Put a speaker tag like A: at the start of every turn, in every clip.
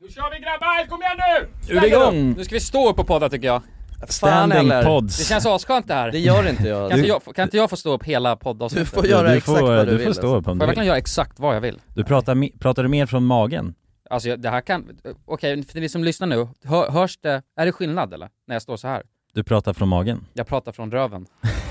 A: Nu kör vi grabbar, kom igen nu!
B: Nu är det igång!
C: Nu ska vi stå upp och podda tycker jag.
B: Standing
D: eller?
C: Det
B: pods.
C: känns asskönt det
D: Det
C: här.
D: gör inte jag.
C: Kan inte
D: Du,
C: jag, kan inte jag få stå upp hela poddavsnittet?
D: får
C: Får
D: göra
B: du
D: exakt
B: får,
D: vad du,
B: du
D: vill.
B: får stå
D: alltså.
B: upp om
C: jag
B: du
C: verkligen
B: vill.
C: göra exakt vad jag vill?
B: Du pratar, mi- pratar du mer från magen?
C: Alltså jag- det här kan... Okej, för ni som lyssnar nu, hör, hörs det... Är det skillnad eller? När jag står så här?
B: Du pratar från magen?
C: Jag pratar från röven.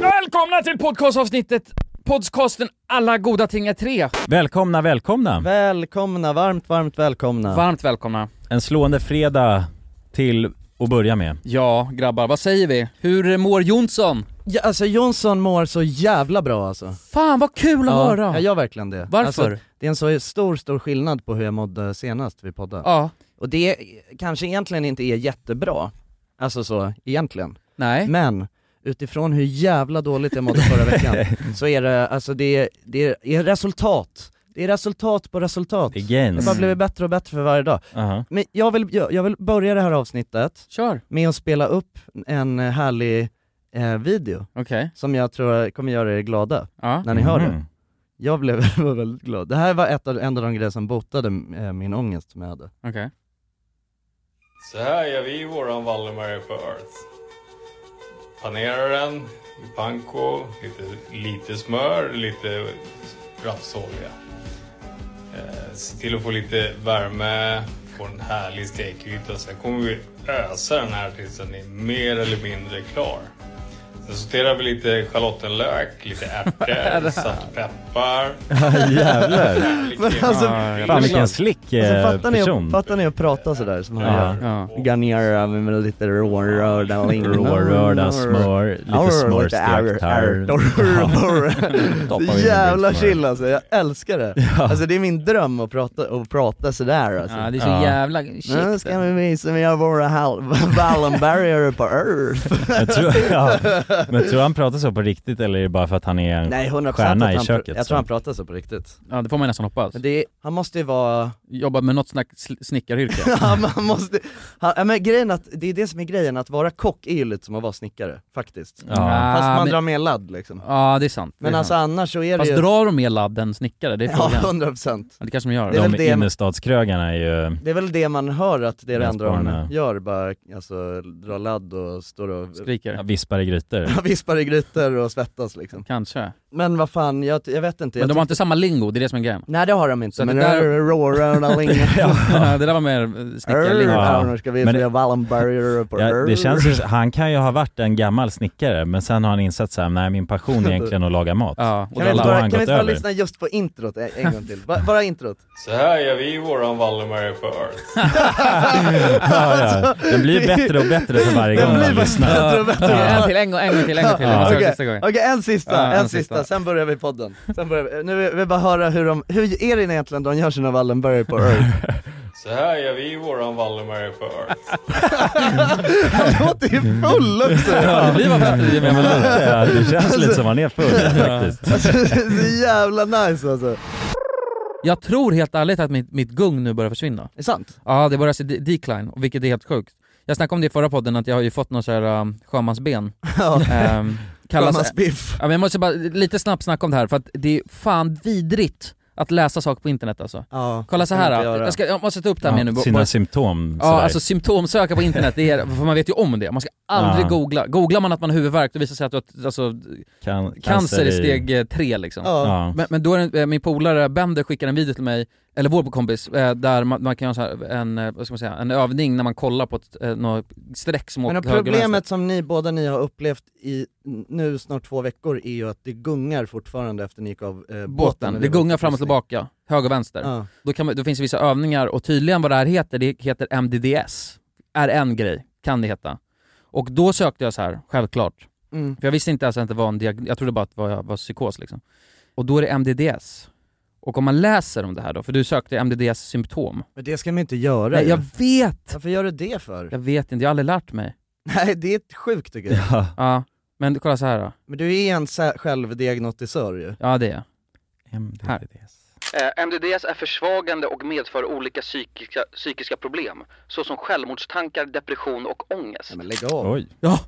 C: Välkomna till podcastavsnittet, podcasten Alla goda ting är tre.
B: Välkomna, välkomna!
D: Välkomna, varmt, varmt välkomna.
C: Varmt välkomna.
B: En slående fredag till att börja med.
C: Ja, grabbar, vad säger vi? Hur mår Jonsson?
D: ja, alltså Jonsson mår så jävla bra alltså.
C: Fan vad kul att höra!
D: jag gör verkligen det.
C: Varför?
D: Alltså, det är en så stor, stor skillnad på hur jag mådde senast vi poddade.
C: ja,
D: Och det kanske egentligen inte är jättebra, alltså så, egentligen.
C: nej.
D: Men utifrån hur jävla dåligt jag mådde förra veckan så är det, alltså det är, det är, det är resultat. Det är resultat på resultat.
B: Det är
D: Det
B: gains.
D: bara blir bättre och bättre för varje dag.
B: Aha.
D: Men jag vill, jag, jag vill börja det här avsnittet
C: Kör.
D: med att spela upp en eh, härlig eh, video
C: Okej.
D: som jag tror kommer göra er glada
C: Ja.
D: när ni hör det.
B: Mhm.
D: Jag blev var väldigt glad. Det här var ett av, en av de grejer som botade eh, min ångest som jag hade.
C: Okej.
E: Så här gör vi våran Valdemar på Earth. Panerar den i panko, lite, lite smör, lite rapsolja. Eh, se till att få lite värme, få en härlig stekyta. Sen kommer vi ösa den här tills den är mer eller mindre klar. Sen sorterar vi lite schalottenlök, lite ärtor, svartpeppar.
B: Jävlar!
E: Lite
D: Men alltså,
C: Ja,
B: Ah, Fan
C: jag-
B: vilken slick eh,
D: alltså fattar, ni,
B: person.
D: fattar ni att prata sådär som han
B: Ja.
D: gör?
C: Ja.
D: Garnera med lite rårörda lingon.
B: Rårörda smör, lite smörstekt här. Stoppar in
D: här.
B: en
D: Jävla
B: bit smör.
D: chill alltså, jag älskar det. Alltså det är min dröm att prata, att prata sådär alltså.
C: ja, det är så
B: Ja.
C: jävla...
D: Nu
C: Shit.
D: ska vi visa vi har våra hal- Wallenbergare på Earth.
B: Jag tror, ja. Men tror han pratar så på riktigt eller är det bara för att han är en...
D: Nej 100%
B: Stjärna
D: att
B: i
D: han,
B: köket,
D: Jag
B: så.
D: tror han pratar så på riktigt.
C: Ja, det får man nästan hoppas.
D: Men det, han måste ju vara,
C: Jobba med något snack, sl- snickaryrke.
D: han, han måste, han, ja, men grejen att, det är det som är grejen, att vara kock är ju lite som att vara snickare, faktiskt.
B: Ja.
D: Fast
C: Ah,
D: man
C: men-
D: drar mer ladd liksom.
C: Ja, det är sant. Det
D: Men
C: är
D: alltså
C: sant.
D: annars så är det
C: Fast
D: ju,
C: drar de mer ladd än snickare? Det är
D: ja
C: frågan.
D: 100%.
C: Ja, det kanske de gör.
D: Det är väl
B: De
D: det-
B: innerstadskrögarna är ju...
D: Det är väl det man hör att det är det
B: Jag
D: enda
B: sparar
D: de
B: nu.
D: gör, bara alltså dra ladd och står och
C: Skriker.
B: ja, Vispar i grytor.
D: vispar i grytor och svettas liksom.
C: Kanske.
D: Men vad fan, jag, jag vet inte.
C: Men
D: jag
C: de har inte samma lingo, det är det som är grejen.
D: tyck- Nej det har de inte,
C: Så
D: men
C: det
D: det
C: där-
D: där... Roralingo,
C: det där var mer eh, snickarlingo.
B: Ja.
D: ska vi
B: Men-
D: se Wallenberger på
B: Ja, det känns ju, han kan ju ha varit en gammal snickare men sen har han insett såhär, nej min passion är egentligen att laga mat.
C: Ja, och
D: Kan
B: då
D: vi
C: dra
D: inte
B: har
C: ladd.
D: bara,
B: han
D: kan vi
B: gått
D: inte bara
B: över.
D: lyssna just på introt en, en gång till? Bara, bara introt.
E: Så här gör vi våran Valdemar på Earth.
B: Ja, ja. Det blir ju bättre och bättre för varje gång
D: Det Alltså, blir
B: man lyssnar.
D: bättre och
C: En
D: bättre.
C: till, en gång, en gång till, en gång till.
B: Ja.
C: Vi kör
D: Okej.
C: sista gången.
D: Okej en sista,
C: Ja,
D: en,
C: en
D: sista.
C: sista.
D: sen börjar vi podden. Sen börjar vi, nu vill vi bara höra hur de, hur är det egentligen de gör sina Wallenberger på Earth?
E: Så här gör vi våran Valdemar på Earth.
D: Han låter ju full också!
C: Ja, det blir bara bättre ju mer
B: Ja,
C: man
B: men lite, ja, det känns lite som han är full faktiskt.
D: Alltså det är så jävla nice alltså.
C: Jag tror helt ärligt att mitt, mitt gung nu börjar försvinna.
D: Är sant?
C: Ja, det börjar se de- decline, och vilket är helt sjukt. Jag snackade om det i förra podden, att jag har ju fått någon så här um, sjömansben.
D: Ja.
C: Ehm, kallas,
D: Kallas biff.
C: ja, men jag måste bara lite snabbt snacka om det här, för att det är fan vidrigt att läsa saker på internet alltså.
D: Ja,
C: Kolla så
D: kan
C: här,
D: inte
C: jag,
D: göra.
C: jag, ska, jag måste ta upp det här med nu.
B: Ja,
C: bo-
B: sina
C: bara-
B: symptom
C: Ja,
B: sådär.
C: alltså symptomsöka på internet, det är, för man vet ju om det. Man ska aldrig
B: Ja.
C: googla. Googlar man att man har huvudvärk, då visar det sig att du har alltså,
B: Can-
C: cancer i steg eh, tre liksom.
D: Ja.
B: Ja.
C: Men, men då är det, eh, min polare Bender skickar en video till mig, eller vår kompis, eh, där man, man kan göra så här, en, eh, vad ska man säga, en övning när man kollar på ett, eh, något streck som
D: Men
C: åker
D: och
C: till höger och vänster.
D: problemet som ni båda ni har upplevt i nu snart två veckor är ju att det gungar fortfarande efter ni gick av eh, båten.
C: Båten, det gungar fram och tillbaka, höger och vänster.
D: Ja.
C: Då, kan man, då finns det vissa övningar och tydligen vad det här heter, det heter MDDS. Är en grej, kan det heta. Och då sökte jag så här, självklart.
D: Mm.
C: För jag visste inte ens att det var en diagnos, jag trodde bara att det var, var psykos liksom. Och då är det MDDS. Och om man läser om det här då, för du sökte MDDS symptom.
D: Men det ska man inte göra
C: Nej,
D: ju.
C: jag vet!
D: Varför gör du det för?
C: Jag vet inte, jag har aldrig lärt mig.
D: Nej det är sjukt tycker jag.
B: Ja.
C: Ja, men kolla så här då.
D: Men du är en sä- självdiagnostisör ju.
C: Ja det är jag.
B: MDDS.
C: Eh, MDDS är försvagande och medför olika psykiska, psykiska problem, såsom självmordstankar, depression och ångest.
D: Nej men lägg av.
B: Oj.
C: Ja!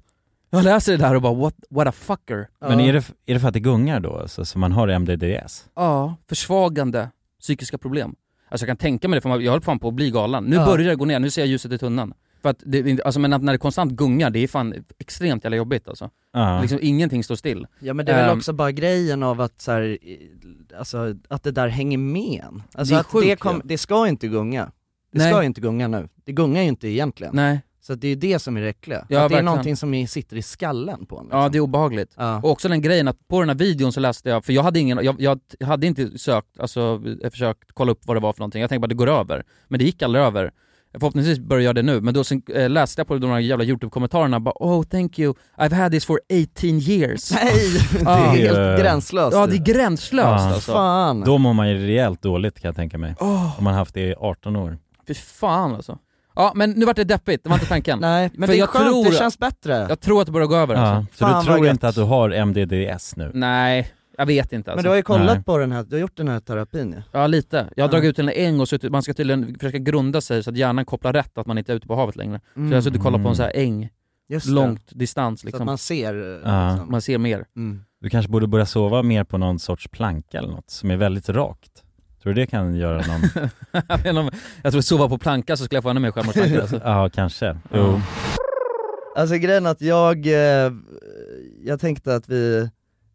C: Jag läser det där och bara what, what a fucker.
B: Men är det, f- är det för att det gungar då, alltså, så man har MDDS?
C: Ja, försvagande psykiska problem. Alltså jag kan tänka mig det, för man- jag höll fan på att bli galen. Nu
F: Ja.
C: börjar det gå ner, nu ser jag ljuset i tunneln. För att det, alltså men att när det konstant gungar, det är fan extremt jävla jobbigt alltså.
B: Ja.
C: Liksom ingenting står still.
F: Ja men det är väl
C: Ehm.
F: också bara grejen av att så här, i- alltså att det där hänger med en. Alltså
C: Det är
F: att
C: sjukt,
F: det, kom,
C: ja.
F: det ska inte gunga. Det
C: Nej.
F: ska ju inte gunga nu. Det gungar ju inte egentligen.
C: Nej,
F: Så att det är ju det som är det äckliga.
C: Ja,
F: att det
C: verkligen.
F: är någonting som i- sitter i skallen på en.
C: ja det är obehagligt.
F: ja.
C: Och också den grejen att på den här videon så läste jag, för jag hade ingen, jag, jag hade inte sökt, alltså jag försökt kolla upp vad det var för någonting. Jag tänkte bara det går över. Men det gick aldrig över. Förhoppningsvis börjar jag det nu, men då sen, eh, läste jag på de här jävla youtube-kommentarerna bara oh thank you, I've had this for 18 years.
F: Nej! Det
C: Ja.
F: är helt
B: Det är-
F: gränslöst.
C: Ja det är gränslöst
B: Ja.
C: alltså.
F: Fan.
B: Då mår man ju rejält dåligt kan jag tänka mig.
C: Åh,
B: Om man haft det i 18 år.
C: fy fan alltså. Ja men nu vart det deppigt, det var inte tanken.
F: Nej, men
C: För
F: det är
C: jag
F: skönt,
C: tror-
F: det känns bättre.
C: Jag tror att det börjar gå över alltså.
B: Ja. Så
F: Fan,
B: du
F: vad
B: tror
F: gött.
B: inte att du har MDDS nu?
C: Nej, jag vet inte
F: Men
C: alltså.
F: du har ju kollat
B: Nej.
F: på den här, du har gjort den här terapin ju.
C: Ja lite. Jag har
F: Ja.
C: dragit ut den en gång, så att man ska tydligen försöka grunda sig så att hjärnan kopplar rätt att man inte är ute på havet längre. Så jag har suttit och kollat på en så här äng,
F: Mm. Just det.
C: långt distans
F: Så att
C: liksom. Man...
F: man ser.
B: Ja.
F: Liksom.
C: ser mer.
F: Mm.
B: Du kanske borde börja sova mer på någon sorts planka eller något som är väldigt rakt. Tror du det kan göra någon...
C: jag vet inte om- jag tror sova på planka så skulle jag få ännu mer självmordstankar alltså.
B: ja, kanske. Jo.
F: Alltså grejen är att jag, eh, jag tänkte att vi,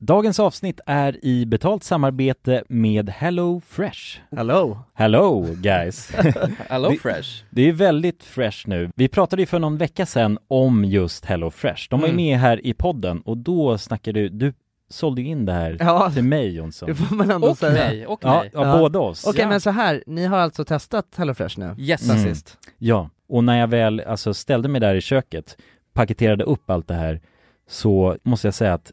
B: Dagens avsnitt är i betalt samarbete med Hello Fresh.
F: Hello!
B: Hello guys!
C: Hello
B: Det-
C: fresh.
B: Det är väldigt fresh nu. Vi pratade ju för någon vecka sedan om just Hello Fresh. De var ju
C: Mm.
B: med här i podden och då snackade du, du sålde ju in det här
F: Ja,
B: till mig Jonsson.
F: det får man ändå
C: Och
F: säga.
C: mig, och
B: Ja,
C: mig.
B: ja,
F: Ja.
B: båda oss.
F: Okej
C: Ja.
F: men så här, ni har alltså testat HelloFresh nu?
C: Yes. alltså.
B: Mm.
F: Sist.
B: Ja, och när jag väl alltså, ställde mig där i köket, paketerade upp allt det här, så måste jag säga att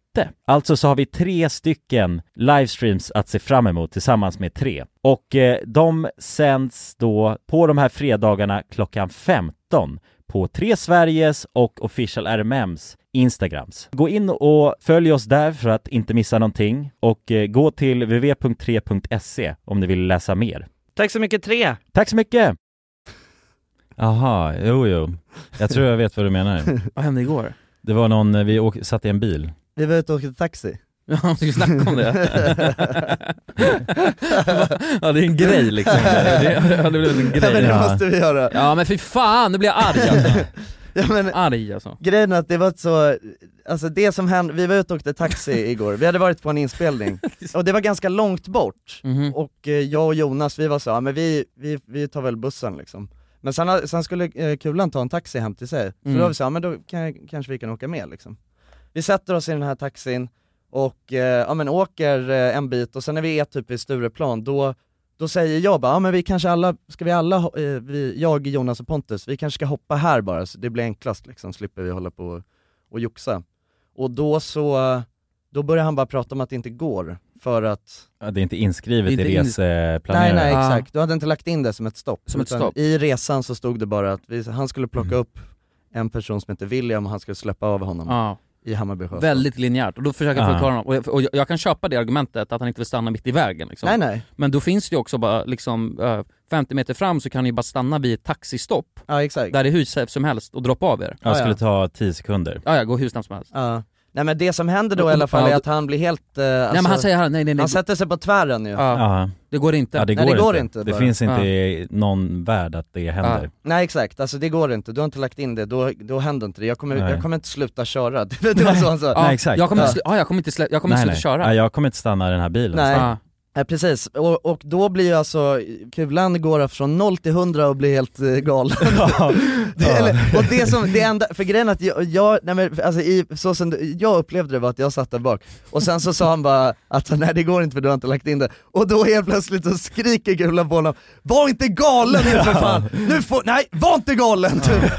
B: Alltså så har vi tre stycken livestreams att se fram emot tillsammans med tre. Och eh, de sänds då på de här fredagarna klockan 15 på Tre Sveriges och Official RMMs Instagrams. Gå in och följ oss där för att inte missa någonting och eh, gå till www.3.se e om ni vill läsa mer.
F: Tack så mycket tre!
B: Tack så mycket! Aha, jo jo. Jag tror jag vet vad du menar.
C: Vad hände igår?
B: Det var någon, eh, vi åk, satt i en bil.
D: Vi var ute och åkte taxi.
C: Ja, man ska ju snacka om det. ja det är en grej liksom. Det, ja, det blev en
D: Ja, men
C: grej.
D: det
B: Ja.
D: måste vi göra.
C: Ja men fy fan, nu blir jag arg alltså.
D: Ja, men,
C: Arg alltså.
D: grejen är att det var inte så, alltså det som hände, vi var ute och åkte taxi igår, vi hade varit på en inspelning, och det var ganska långt bort,
C: Mhm.
D: och eh, jag och Jonas vi var så, ja, men vi, vi, vi tar väl bussen liksom. Men sen, ha- sen skulle eh, Kulan ta en taxi hem till sig, så
C: Mm.
D: då var vi så, ja, men då kan, kanske vi kan åka med liksom. Vi sätter oss i den här taxin, och eh, ja, men åker eh, en bit, och sen när vi är typ vid Stureplan, då då säger jag bara, ja men vi kanske alla, ska vi alla, ho- eh, vi, jag, Jonas och Pontus, vi kanske ska hoppa här bara så det blir enklast liksom, slipper vi hålla på och, och joxa. Och då så, då börjar han bara prata om att det inte går, för att,
B: Ja, Det är inte inskrivet
C: Det är
B: i eh,
C: inte
B: reseplaneraren.
D: nej nej
C: Ah.
D: exakt, du hade inte lagt in det som ett stopp.
C: Som ett
D: utan
C: stopp.
D: I resan så stod det bara att vi, han skulle plocka
B: Mm.
D: upp en person som heter William och han skulle släppa av honom
C: Ja,
D: i Hammarby sjöstad.
C: väldigt linjärt. Och då försöker jag
B: Ja.
C: förklara honom, och jag, och jag- jag kan köpa det argumentet att han inte vill stanna mitt i vägen liksom.
D: Nej nej,
C: Men då finns det ju också bara liksom eh, 50 meter fram så kan ni ju bara stanna vid ett taxistopp
D: ja exakt.
C: där det är hur som helst och droppa av er.
B: Jag skulle
D: Ah,
B: ta 10 sekunder.
C: Ja, ja, gå hur snabbt som helst.
D: Ja. Nej men det som händer då i alla fall är att han blir helt... Eh, alltså,
C: men han säger Ah. här, nej, nej, nej.
D: Han sätter sig på tvären ju.
B: Ja.
C: Det går inte.
B: Ja, det går,
D: Nej, det går
B: inte.
D: inte
B: det
D: bara.
B: finns inte
C: Ah.
D: Ja.
B: i någon värld att det händer.
D: Ja. Nej exakt, alltså det går inte, du har inte lagt in det, då, då händer inte det. Jag kommer,
B: Nej.
D: jag kommer inte sluta köra, det var så han sa.
C: Ah.
B: Nej, exakt.
C: Jag kommer,
B: Ja.
C: slu- ja. jag kommer inte, slä- jag kommer
B: nej,
C: inte
B: nej.
C: sluta
B: Ja,
C: köra.
B: jag kommer inte stanna i den här bilen.
D: Nej,
B: Så.
D: Nej, precis. Och, och då blir ju alltså, kulan går från 0 till 100 och blir helt eh, galen. det, eller, och det som, det enda, för grejen är att jag, jag nej men alltså i, så som du- jag upplevde det var att jag satt där bak, och sen så sa han bara att nej det går inte för du har inte lagt in det, och då helt plötsligt så skriker kulan på honom, var inte galen nu för fan! Nu får, nej, var inte galen! Typ.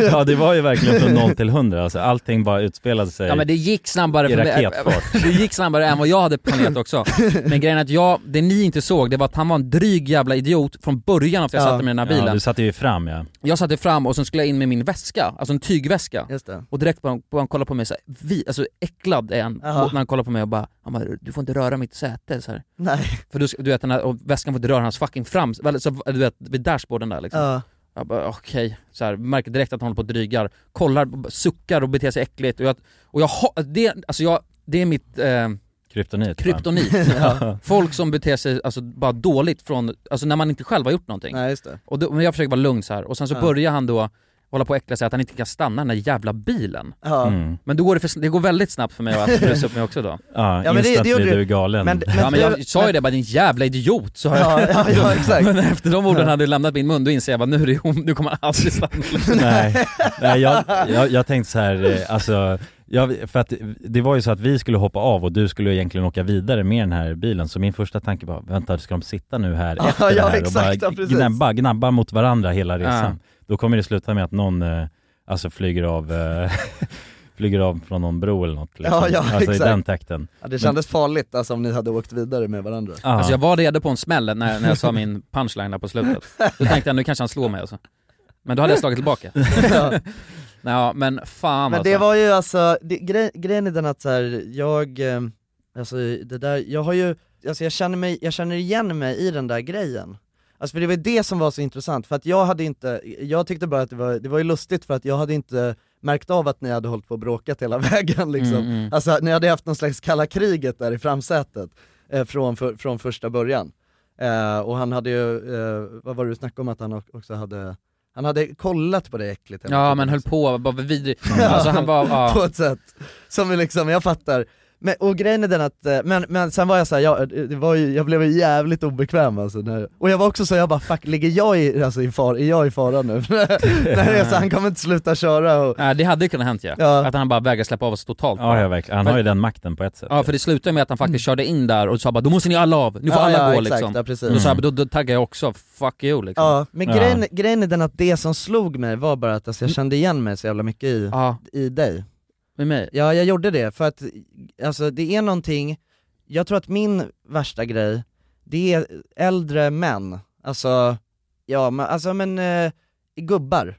B: ja, det var ju verkligen från 0 till 100. Alltså, allting bara utspelade sig.
C: Ja men det gick snabbare
B: Eh, I
C: för mig. eh,
B: raketfart.
C: Det gick snabbare än vad jag hade planerat också. Men grejen är att jag, det ni inte såg, det var att han var en dryg jävla idiot från början efter jag satte mig i den här bilen.
B: Ja, du satte ju fram ja.
C: Jag satte fram och sen skulle jag in med min väska, alltså en tygväska.
D: Just det.
C: Och direkt bara, bara han kollar på mig så här, vi, alltså äcklad är han.
D: Ja.
C: Och när han kollar på mig och bara, han bara, du får inte röra mitt säte så här.
D: Nej.
C: För du, du vet, den här, och väskan får inte röra hans fucking fram, eller så, du vet, vid dashboarden där liksom.
D: Ja.
C: Jag bara okej, så här, märker direkt att han håller på och drygar, kollar, suckar och beter sig äckligt och jag, och jag ha- det, alltså jag, det är mitt eh,
B: Kryptonit. va?
C: kryptonit.
B: Ja.
C: Folk som beter sig alltså, bara dåligt från, alltså när man inte själv har gjort någonting.
D: Nej just det.
C: Och då, men jag försöker vara lugn så här. och sen så
D: Ja.
C: börjar han då hålla på och äckla sig att han inte kan stanna den där jävla bilen.
D: Ja.
B: Mm.
C: Men då går det, för, sn- det går väldigt snabbt för mig att brusa upp mig också då.
B: Ja,
D: Ja, men det-
B: instant
D: det gjorde
B: blir
D: du.
B: du galen.
D: Men- men-
C: ja men
D: du-
C: jag sa ju det bara din jävla idiot sa jag.
D: Ja, ja, ja exakt.
C: Men efter de orden hade lämnat min mun då inser jag bara nu, är det, hon- nu kommer han aldrig stanna.
B: Nej, Nej jag, jag, jag tänkte så här, eh, alltså, jag, för att det var ju så att vi skulle hoppa av och du skulle egentligen åka vidare med den här bilen, så min första tanke var, vänta ska de sitta nu här
D: Ja,
B: efter det
D: ja,
B: här
D: exakt, ja,
B: och bara
D: precis.
B: gnabba, gnabba mot varandra hela resan? Då kommer det sluta med att någon, eh, alltså flyger av, eh, flyger av från någon bro eller något liksom.
D: Ja, ja,
B: Alltså
D: exakt.
B: i den takten.
D: Ja, det kändes farligt alltså om ni hade åkt vidare med varandra.
B: Ja.
C: Alltså jag var redo på en smäll när, när jag sa min punchline där på slutet. Då tänkte jag nu kanske han slår mig alltså. Men då hade jag slagit tillbaka.
D: Ja.
C: Nej, ja, men fan
D: Men
C: alltså.
D: det var ju alltså, det, gre, grejen är den att så här, jag, eh, alltså det där, jag har ju, alltså jag känner mig, jag känner igen mig i den där grejen. Alltså för det var ju det som var så intressant, för att jag hade inte, jag tyckte bara att det var, det var ju lustigt för att jag hade inte märkt av att ni hade hållit på och bråkat hela vägen liksom.
C: Mm, mm.
D: Alltså ni hade haft någon slags kalla kriget där i framsätet eh, från, för, från första början. Eh, och han hade ju, eh, vad var det du snackade om att han också hade, han hade kollat på det äckligt hela
C: Ja
D: tiden liksom.
C: men höll
D: också.
C: på, bara vidrig. Alltså han var,
D: på
C: ja.
D: ett sätt som är liksom, jag fattar. Men, och grejen är den att, eh, men, men sen var jag såhär, jag, det var ju, jag blev ju jävligt obekväm alltså när, Och jag var också så jag bara fuck, ligger jag i, alltså, i, far, är jag i fara nu? när jag, så, han kommer inte sluta köra och,
C: Nej, det hade ju kunnat hänt ja.
D: Ja.
C: Att han bara vägrade släppa av oss totalt.
B: Ja, ja verkligen. Han har ju den makten på ett sätt.
C: Ja, för det slutade med att han faktiskt körde in där och sa bara då måste ni alla av, nu får
D: Mm. Ja,
C: alla
D: ja,
C: gå
D: exakt,
C: liksom.
D: ja, precis. Mm.
C: Då, sa jag, då, då taggade jag också, fuck you liksom.
D: Ja, men
B: Ja.
D: grejen, grejen är den att det som slog mig var bara att alltså, jag kände igen mig så jävla mycket i,
C: Ja,
D: i dig.
C: med mig.
D: Ja, jag gjorde det för att alltså, det är någonting, jag tror att min värsta grej, det är äldre män, alltså, ja, men, alltså, men eh, gubbar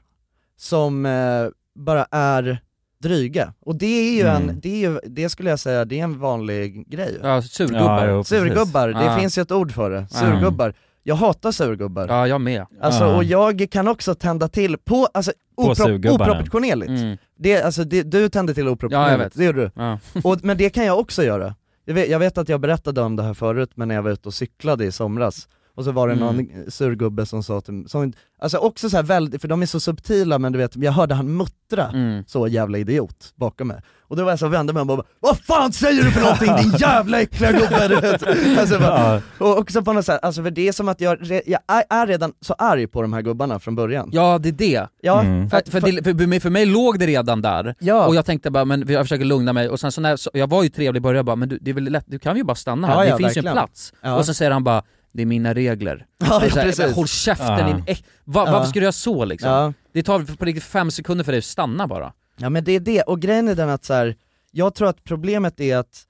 D: som eh, bara är dryga. Och det är ju
B: Mm.
D: en, det, är ju, det skulle jag säga, det är en vanlig grej.
C: Ja, surgubbar.
B: Ja,
C: Ja,
B: jo, precis.
D: surgubbar, det
C: Ah.
D: finns ju ett ord för det, surgubbar. Jag hatar surgubbar.
C: jag med.
D: Alltså,
B: Ah.
D: och jag kan också tända till på, alltså,
B: På
D: opro-
B: surgubbarna.
D: oproportionerligt.
C: Mm.
D: Det, alltså, det, du tände till
C: Ja, jag
D: oproportionerligt,
C: vet.
D: det gjorde du.
C: Ja.
D: Och, men det kan jag också göra. Jag vet, jag vet att jag berättade om det här förut, men när jag var ute och cyklade i somras, och så var det någon surgubbe som sa till som, alltså också så här väldigt, för de är så subtila men du vet, jag hörde han muttra
C: Mm.
D: så jävla idiot bakom mig. Och då var jag så och vände mig om och bara Vad fan säger du för någonting din jävla äckliga gubbe? Du vet. Alltså, bara, och också på något sätt, alltså för det är som att jag, re- jag är- är redan så arg på de här gubbarna från början.
C: ja, det är det.
D: Ja,
B: Mm.
C: För, för, det- för, för, mig, för mig låg det redan där,
D: ja.
C: och jag tänkte bara, men jag försöker lugna mig, och sen så när, så, jag var ju trevlig i början, jag bara, men du, det är väl lätt, du kan ju bara stanna här,
D: Ja,
C: det
D: ja,
C: finns ju
D: verkligen.
C: en plats.
D: Ja.
C: Och sen säger han bara, det är mina regler.
D: ja,
C: Och så här,
D: precis.
C: Håll käften
B: Ja.
C: din äck... Va,
D: Ja.
C: Varför ska du göra så liksom?
D: ja.
C: Det tar på riktigt fem sekunder för dig att stanna bara.
D: Ja men det är det, och grejen är den att så här, jag tror att problemet är att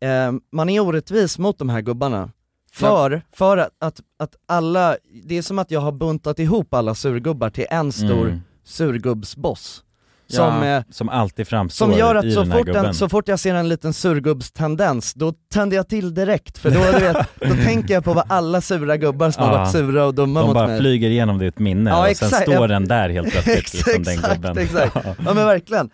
D: eh, man är orättvis mot de här gubbarna. För, för att, att, att alla, det är som att jag har buntat ihop alla surgubbar till en stor
B: Mm.
D: surgubbsboss.
C: Ja.
D: Som, eh,
B: Som alltid framstår
D: som gör
B: i
D: att så
B: den här
D: fort,
B: gubben.
D: en, så fort jag ser en liten surgubbstendens, då tänder jag till direkt. För då, du vet, då tänker jag på vad alla sura gubbar som har
B: Ja.
D: varit sura och dumma
B: De
D: mot
B: bara
D: mig.
B: flyger igenom ditt minne
D: Ja,
B: och sen
D: exakt.
B: står den där helt plötsligt
D: Exakt,
B: som den
D: exakt,
B: gubben.
D: exakt. Ja men verkligen.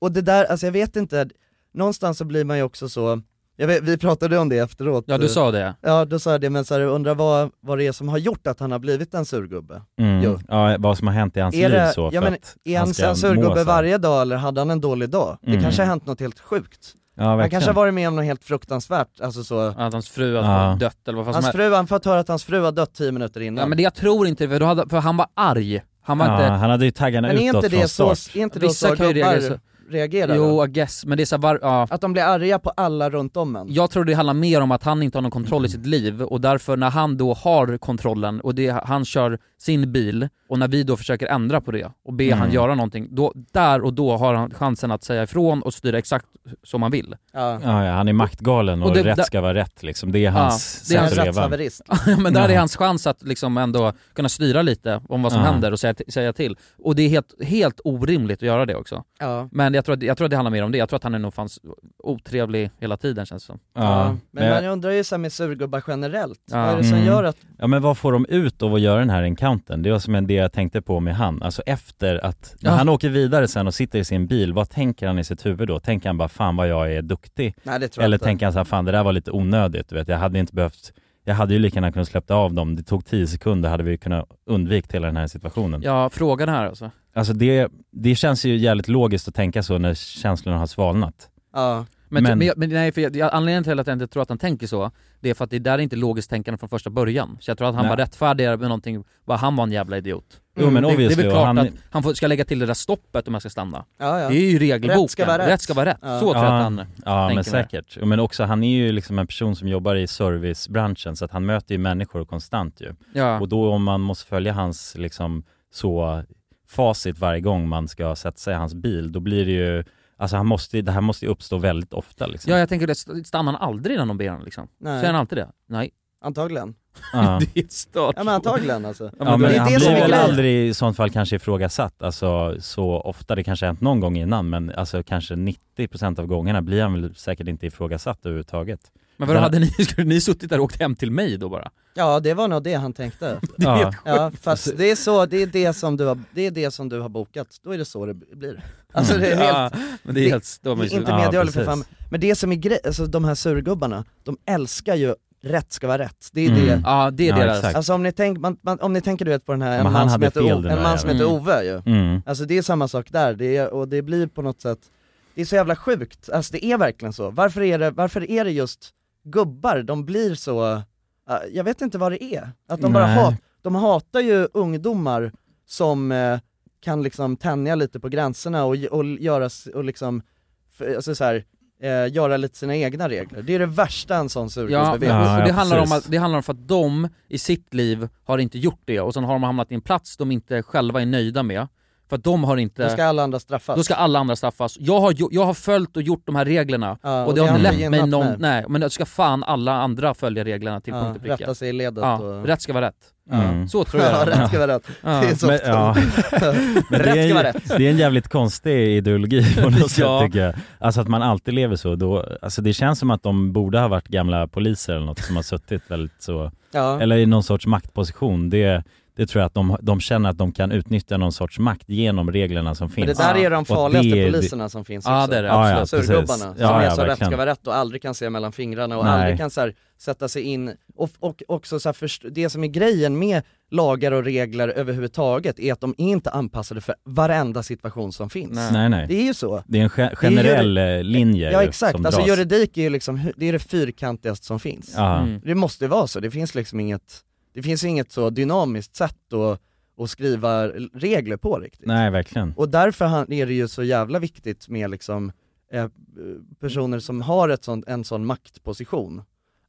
D: Och det där, alltså jag vet inte, någonstans så blir man ju också så, jag vet, vi pratade om det efteråt.
C: Ja, du sa det.
D: Ja, då sa jag det, men så här, jag undrar vad, vad det är som har gjort att han har blivit en surgubbe.
B: Mm.
D: Jo.
B: Ja, vad som har hänt i hans
D: Är,
B: liv
D: det,
B: så
D: ja,
B: för
D: men,
B: att
D: är
B: han
D: han
B: ska
D: en
B: må så
D: surgubbe
B: här.
D: varje dag eller hade han en dålig dag? Det
B: Mm.
D: kanske har hänt något helt sjukt.
B: Ja,
D: han kanske har
B: verkligen.
D: varit med om något helt fruktansvärt, alltså så
C: Att hans fru
B: Ja.
C: har dött eller vad fan som
D: Hans
C: helst.
D: fru, han fått höra att hans fru har dött 10 minuter innan.
C: Ja men det jag tror inte, för, då hade, för han var arg. Han var
B: ja,
C: inte...
B: han hade ju taggarna
D: Men är
B: utåt
D: inte det
B: från
D: så,
B: start.
D: är inte det
C: Vissa
D: så
C: kan ju
D: gubbar
C: reagera så.
D: reagerar då?
C: Jo, I guess, men det är så här, var, ja.
D: Att de blir arga på alla runt om en?
C: Jag tror det handlar mer om att han inte har någon kontroll i sitt liv och därför när han då har kontrollen och det, han kör sin bil och när vi då försöker ändra på det och be
B: Mm.
C: han göra någonting, då, där och då har han chansen att säga ifrån och styra exakt som han vill.
D: Ja.
B: Ja, ja, han är maktgalen och,
C: Och det-
B: rätt
C: där-
B: ska vara rätt liksom. Det är hans
C: det är
B: sätt
C: hans
B: att leva.
D: Rättshaverist.
C: Ja, men där är
B: Ja.
C: hans chans att liksom ändå kunna styra lite om vad som
B: Ja.
C: händer och säga, säga till. Och det är helt, helt orimligt att göra det också.
D: Ja.
C: Men jag tror, att, jag tror att det handlar mer om det, jag tror att han är nog fanns otrevlig hela tiden känns det som.
B: Ja.
D: Men
B: Men,
D: man undrar ju såhär med surgubbar generellt,
C: Ja.
D: vad är det som
B: Mm.
D: gör att,
B: ja, men vad får de ut av att göra den här encountern? Det var som en det jag tänkte på med han. Alltså efter att, när
C: Ja.
B: han åker vidare sen och sitter i sin bil, vad tänker han i sitt huvud då? Tänker han bara fan vad jag är duktig?
D: nej det tror
B: Eller
D: jag inte.
B: tänker han så här, fan det där var lite onödigt, du vet. jag hade inte behövt jag hade ju lika gärna kunnat släppa av dem, det tog 10 sekunder hade vi kunnat undvika hela den här situationen.
C: Ja, frågan här alltså.
B: Alltså det, det känns ju jävligt logiskt att tänka så när känslorna har svalnat.
D: Ja.
C: Men,
B: Men-
C: men, jag- men nej, för jag, jag- anledningen till att jag inte tror att han tänker så, det är för att det där är inte logiskt tänkande från första början. Så jag tror att han
B: Nej.
C: var rättfärdigare med någonting, bara han var en jävla idiot.
B: Jo men
C: Mm, det, det är
B: obviously,
C: väl
B: och
C: klart
B: han,
C: att han får, ska lägga till det där stoppet om han ska stanna.
D: Ja, ja.
C: Det är ju regelboken.
D: Rätt ska vara rätt. Ja.
C: Så tror jag
B: Ja.
C: att han...
B: ja men
C: tänker med.
B: säkert. Men också han är ju liksom en person som jobbar i servicebranschen så att han möter ju människor konstant ju.
C: Ja.
B: Och då om man måste följa hans liksom så facit varje gång man ska sätta sig i hans bil, då blir det ju, alltså han måste, det här måste ju uppstå väldigt ofta liksom.
C: ja, jag tänker det, st- stannar han aldrig när någon ber honom liksom?
D: Nej.
C: Säger han alltid det? Nej.
D: Antagligen.
B: Ja.
C: Det är stört.
D: Ja men antagligen alltså.
C: Ja,
B: Ja,
C: men
B: men
D: det är
B: han
D: det som
B: blir
D: är
B: väl
D: grejen.
B: aldrig i sånt fall kanske ifrågasatt, alltså så ofta, det kanske har hänt någon gång innan men alltså kanske 90% av gångerna blir han väl säkert inte ifrågasatt överhuvudtaget.
C: Men vadå,
B: Där-
C: hade ni, skulle ni suttit där och åkt hem till mig då bara?
D: Ja det var nog det han tänkte.
C: Det är
B: Ja.
C: helt
D: Ja
B: Alltså-
D: fast det är så, det är det som du har, det är det som du har bokat, då är det så det blir. Alltså det är helt,
C: Ja, men det är
D: det-
C: helt... Det, var
D: Det är
C: mysigt.
D: inte
B: Ja,
D: medhörligt för fan.
B: precis.
D: Men det som är grejen, alltså de här surgubbarna, de älskar ju rätt ska vara rätt. Det är
B: Mm.
D: det.
C: ja, det är
B: Ja,
C: deras...
B: exakt.
D: Alltså om ni, tänk, man, man, om ni tänker du vet på den här, en
B: Men han
D: man, som
B: hade
D: heter,
B: fel,
D: o,
B: den
D: en
B: där
D: man som heter
C: jäveln.
D: Ove ju.
B: Mm.
D: Alltså det är samma sak där, det är, och det blir på något sätt, det är så jävla sjukt, alltså det är verkligen så. Varför är det, varför är det just gubbar, de blir så, eh, jag vet inte vad det är. Att de bara
B: Nej.
D: hat, de hatar ju ungdomar som eh, kan liksom tänja lite på gränserna och, och göra, s- och liksom, f- alltså så här, eh, göra lite sina egna regler. Det är det värsta en sån
C: Ja,
D: surgubbe
C: och
D: vet.
B: Ja,
C: och det,
B: ja,
C: handlar om
B: precis.
C: att, det handlar om för att de i sitt liv har inte gjort det och sen har de hamnat i en plats de inte själva är nöjda med. För att de har inte...
D: Då ska alla andra straffas.
C: Då ska alla andra straffas. Jag har, ju- jag har följt och gjort de här reglerna
D: Ja,
C: och det har
D: har
C: inte
D: vi
C: lett mig
D: gynnat
C: någon...
D: med.
C: Nej, typ, men då ska fan alla andra följa reglerna till punkt
D: ja,
C: och pricka.
D: rätta sig i ledet
C: Ja,
D: och...
C: rätt ska vara rätt.
B: Mm.
C: Så tror
D: Ja,
C: jag.
D: rätt ska vara rätt.
C: Ja.
D: Det är så
B: Men, ja. Men det,
D: Rätt
B: är
D: Alltså, ska
B: ju,
D: vara
B: det är en jävligt konstig ideologi på något
C: Ja.
B: sätt tycker jag. Alltså att man alltid lever så. Då, alltså det känns som att de borde ha varit gamla poliser eller något som har suttit väldigt så,
D: Ja.
B: eller i någon sorts maktposition. Det, det tror jag att de, de känner att de kan utnyttja någon sorts makt genom reglerna som
D: Men
B: finns.
D: det där är de
B: Och det
D: farligaste
B: är-
D: poliserna som finns
C: Ja,
D: också.
C: det är det,
B: Ja, ja,
D: Absolut.
B: precis.
D: Surgubbarna, som
B: Ja,
D: är
B: ja,
D: så rätt
B: verkligen.
D: ska vara rätt och aldrig kan se mellan fingrarna och
B: Nej.
D: aldrig kan så här, sätta sig in, och, och också så här, först, det som är grejen med lagar och regler överhuvudtaget är att de är inte anpassade för varenda situation som finns.
B: Nej nej.
D: Det är ju så.
B: Det är en ge- generell eh, linje
D: Ja
B: ju
D: exakt,
B: som
D: alltså
B: dras.
D: juridik är ju liksom, hu- det är det fyrkantigaste som finns.
B: Ja.
C: Mm.
D: Det måste vara så, det finns liksom inget, det finns inget så dynamiskt sätt att, att skriva regler på riktigt.
B: Nej verkligen.
D: Och därför han- är det ju så jävla viktigt med liksom, eh, personer som har ett sånt, en sån maktposition,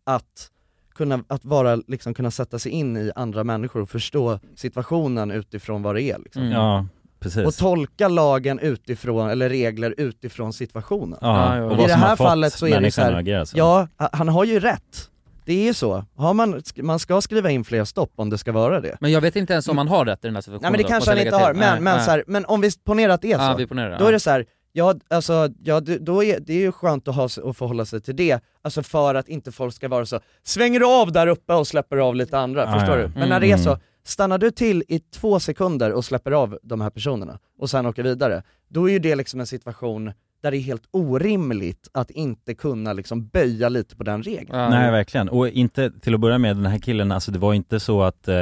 D: att kunna, att vara, liksom, kunna sätta sig in i andra människor och förstå situationen utifrån vad det är. Liksom.
C: Mm.
B: Ja precis.
D: Och tolka lagen utifrån, eller regler utifrån situationen.
B: ja.
C: Ja, ja.
B: och
C: I
B: vad
D: det
B: som har
D: här
B: fått
D: fallet så är det
B: människan
D: så här-
B: att agera så.
D: Ja, ha- han har ju rätt. Det är ju så. Har man, man ska skriva in fler stopp om det ska vara det.
C: Men jag vet inte ens om han har rätt i den här situationen.
D: Nej men det
C: då,
D: kanske
C: Mm, måste jag
D: han
C: lägga
D: inte har,
C: till.
D: men,
C: Nej,
D: men,
C: nej.
D: så här, men om vi ponerar att det är så.
C: Ja, vi ponerar det.
D: Då är det så här, ja alltså, ja, det- då är, det är ju skönt att, ha, att förhålla sig till det, alltså för att inte folk ska vara så, svänger du av där uppe och släpper av lite andra,
B: Ja,
D: förstår
B: ja.
D: du? Men när det är så,
B: Mm.
D: stannar du till i två sekunder och släpper av de här personerna och sen åker vidare, då är ju det liksom en situation där det är helt orimligt att inte kunna liksom böja lite på den regeln.
B: Nej verkligen, och inte till att börja med den här killen, alltså det var inte så att eh,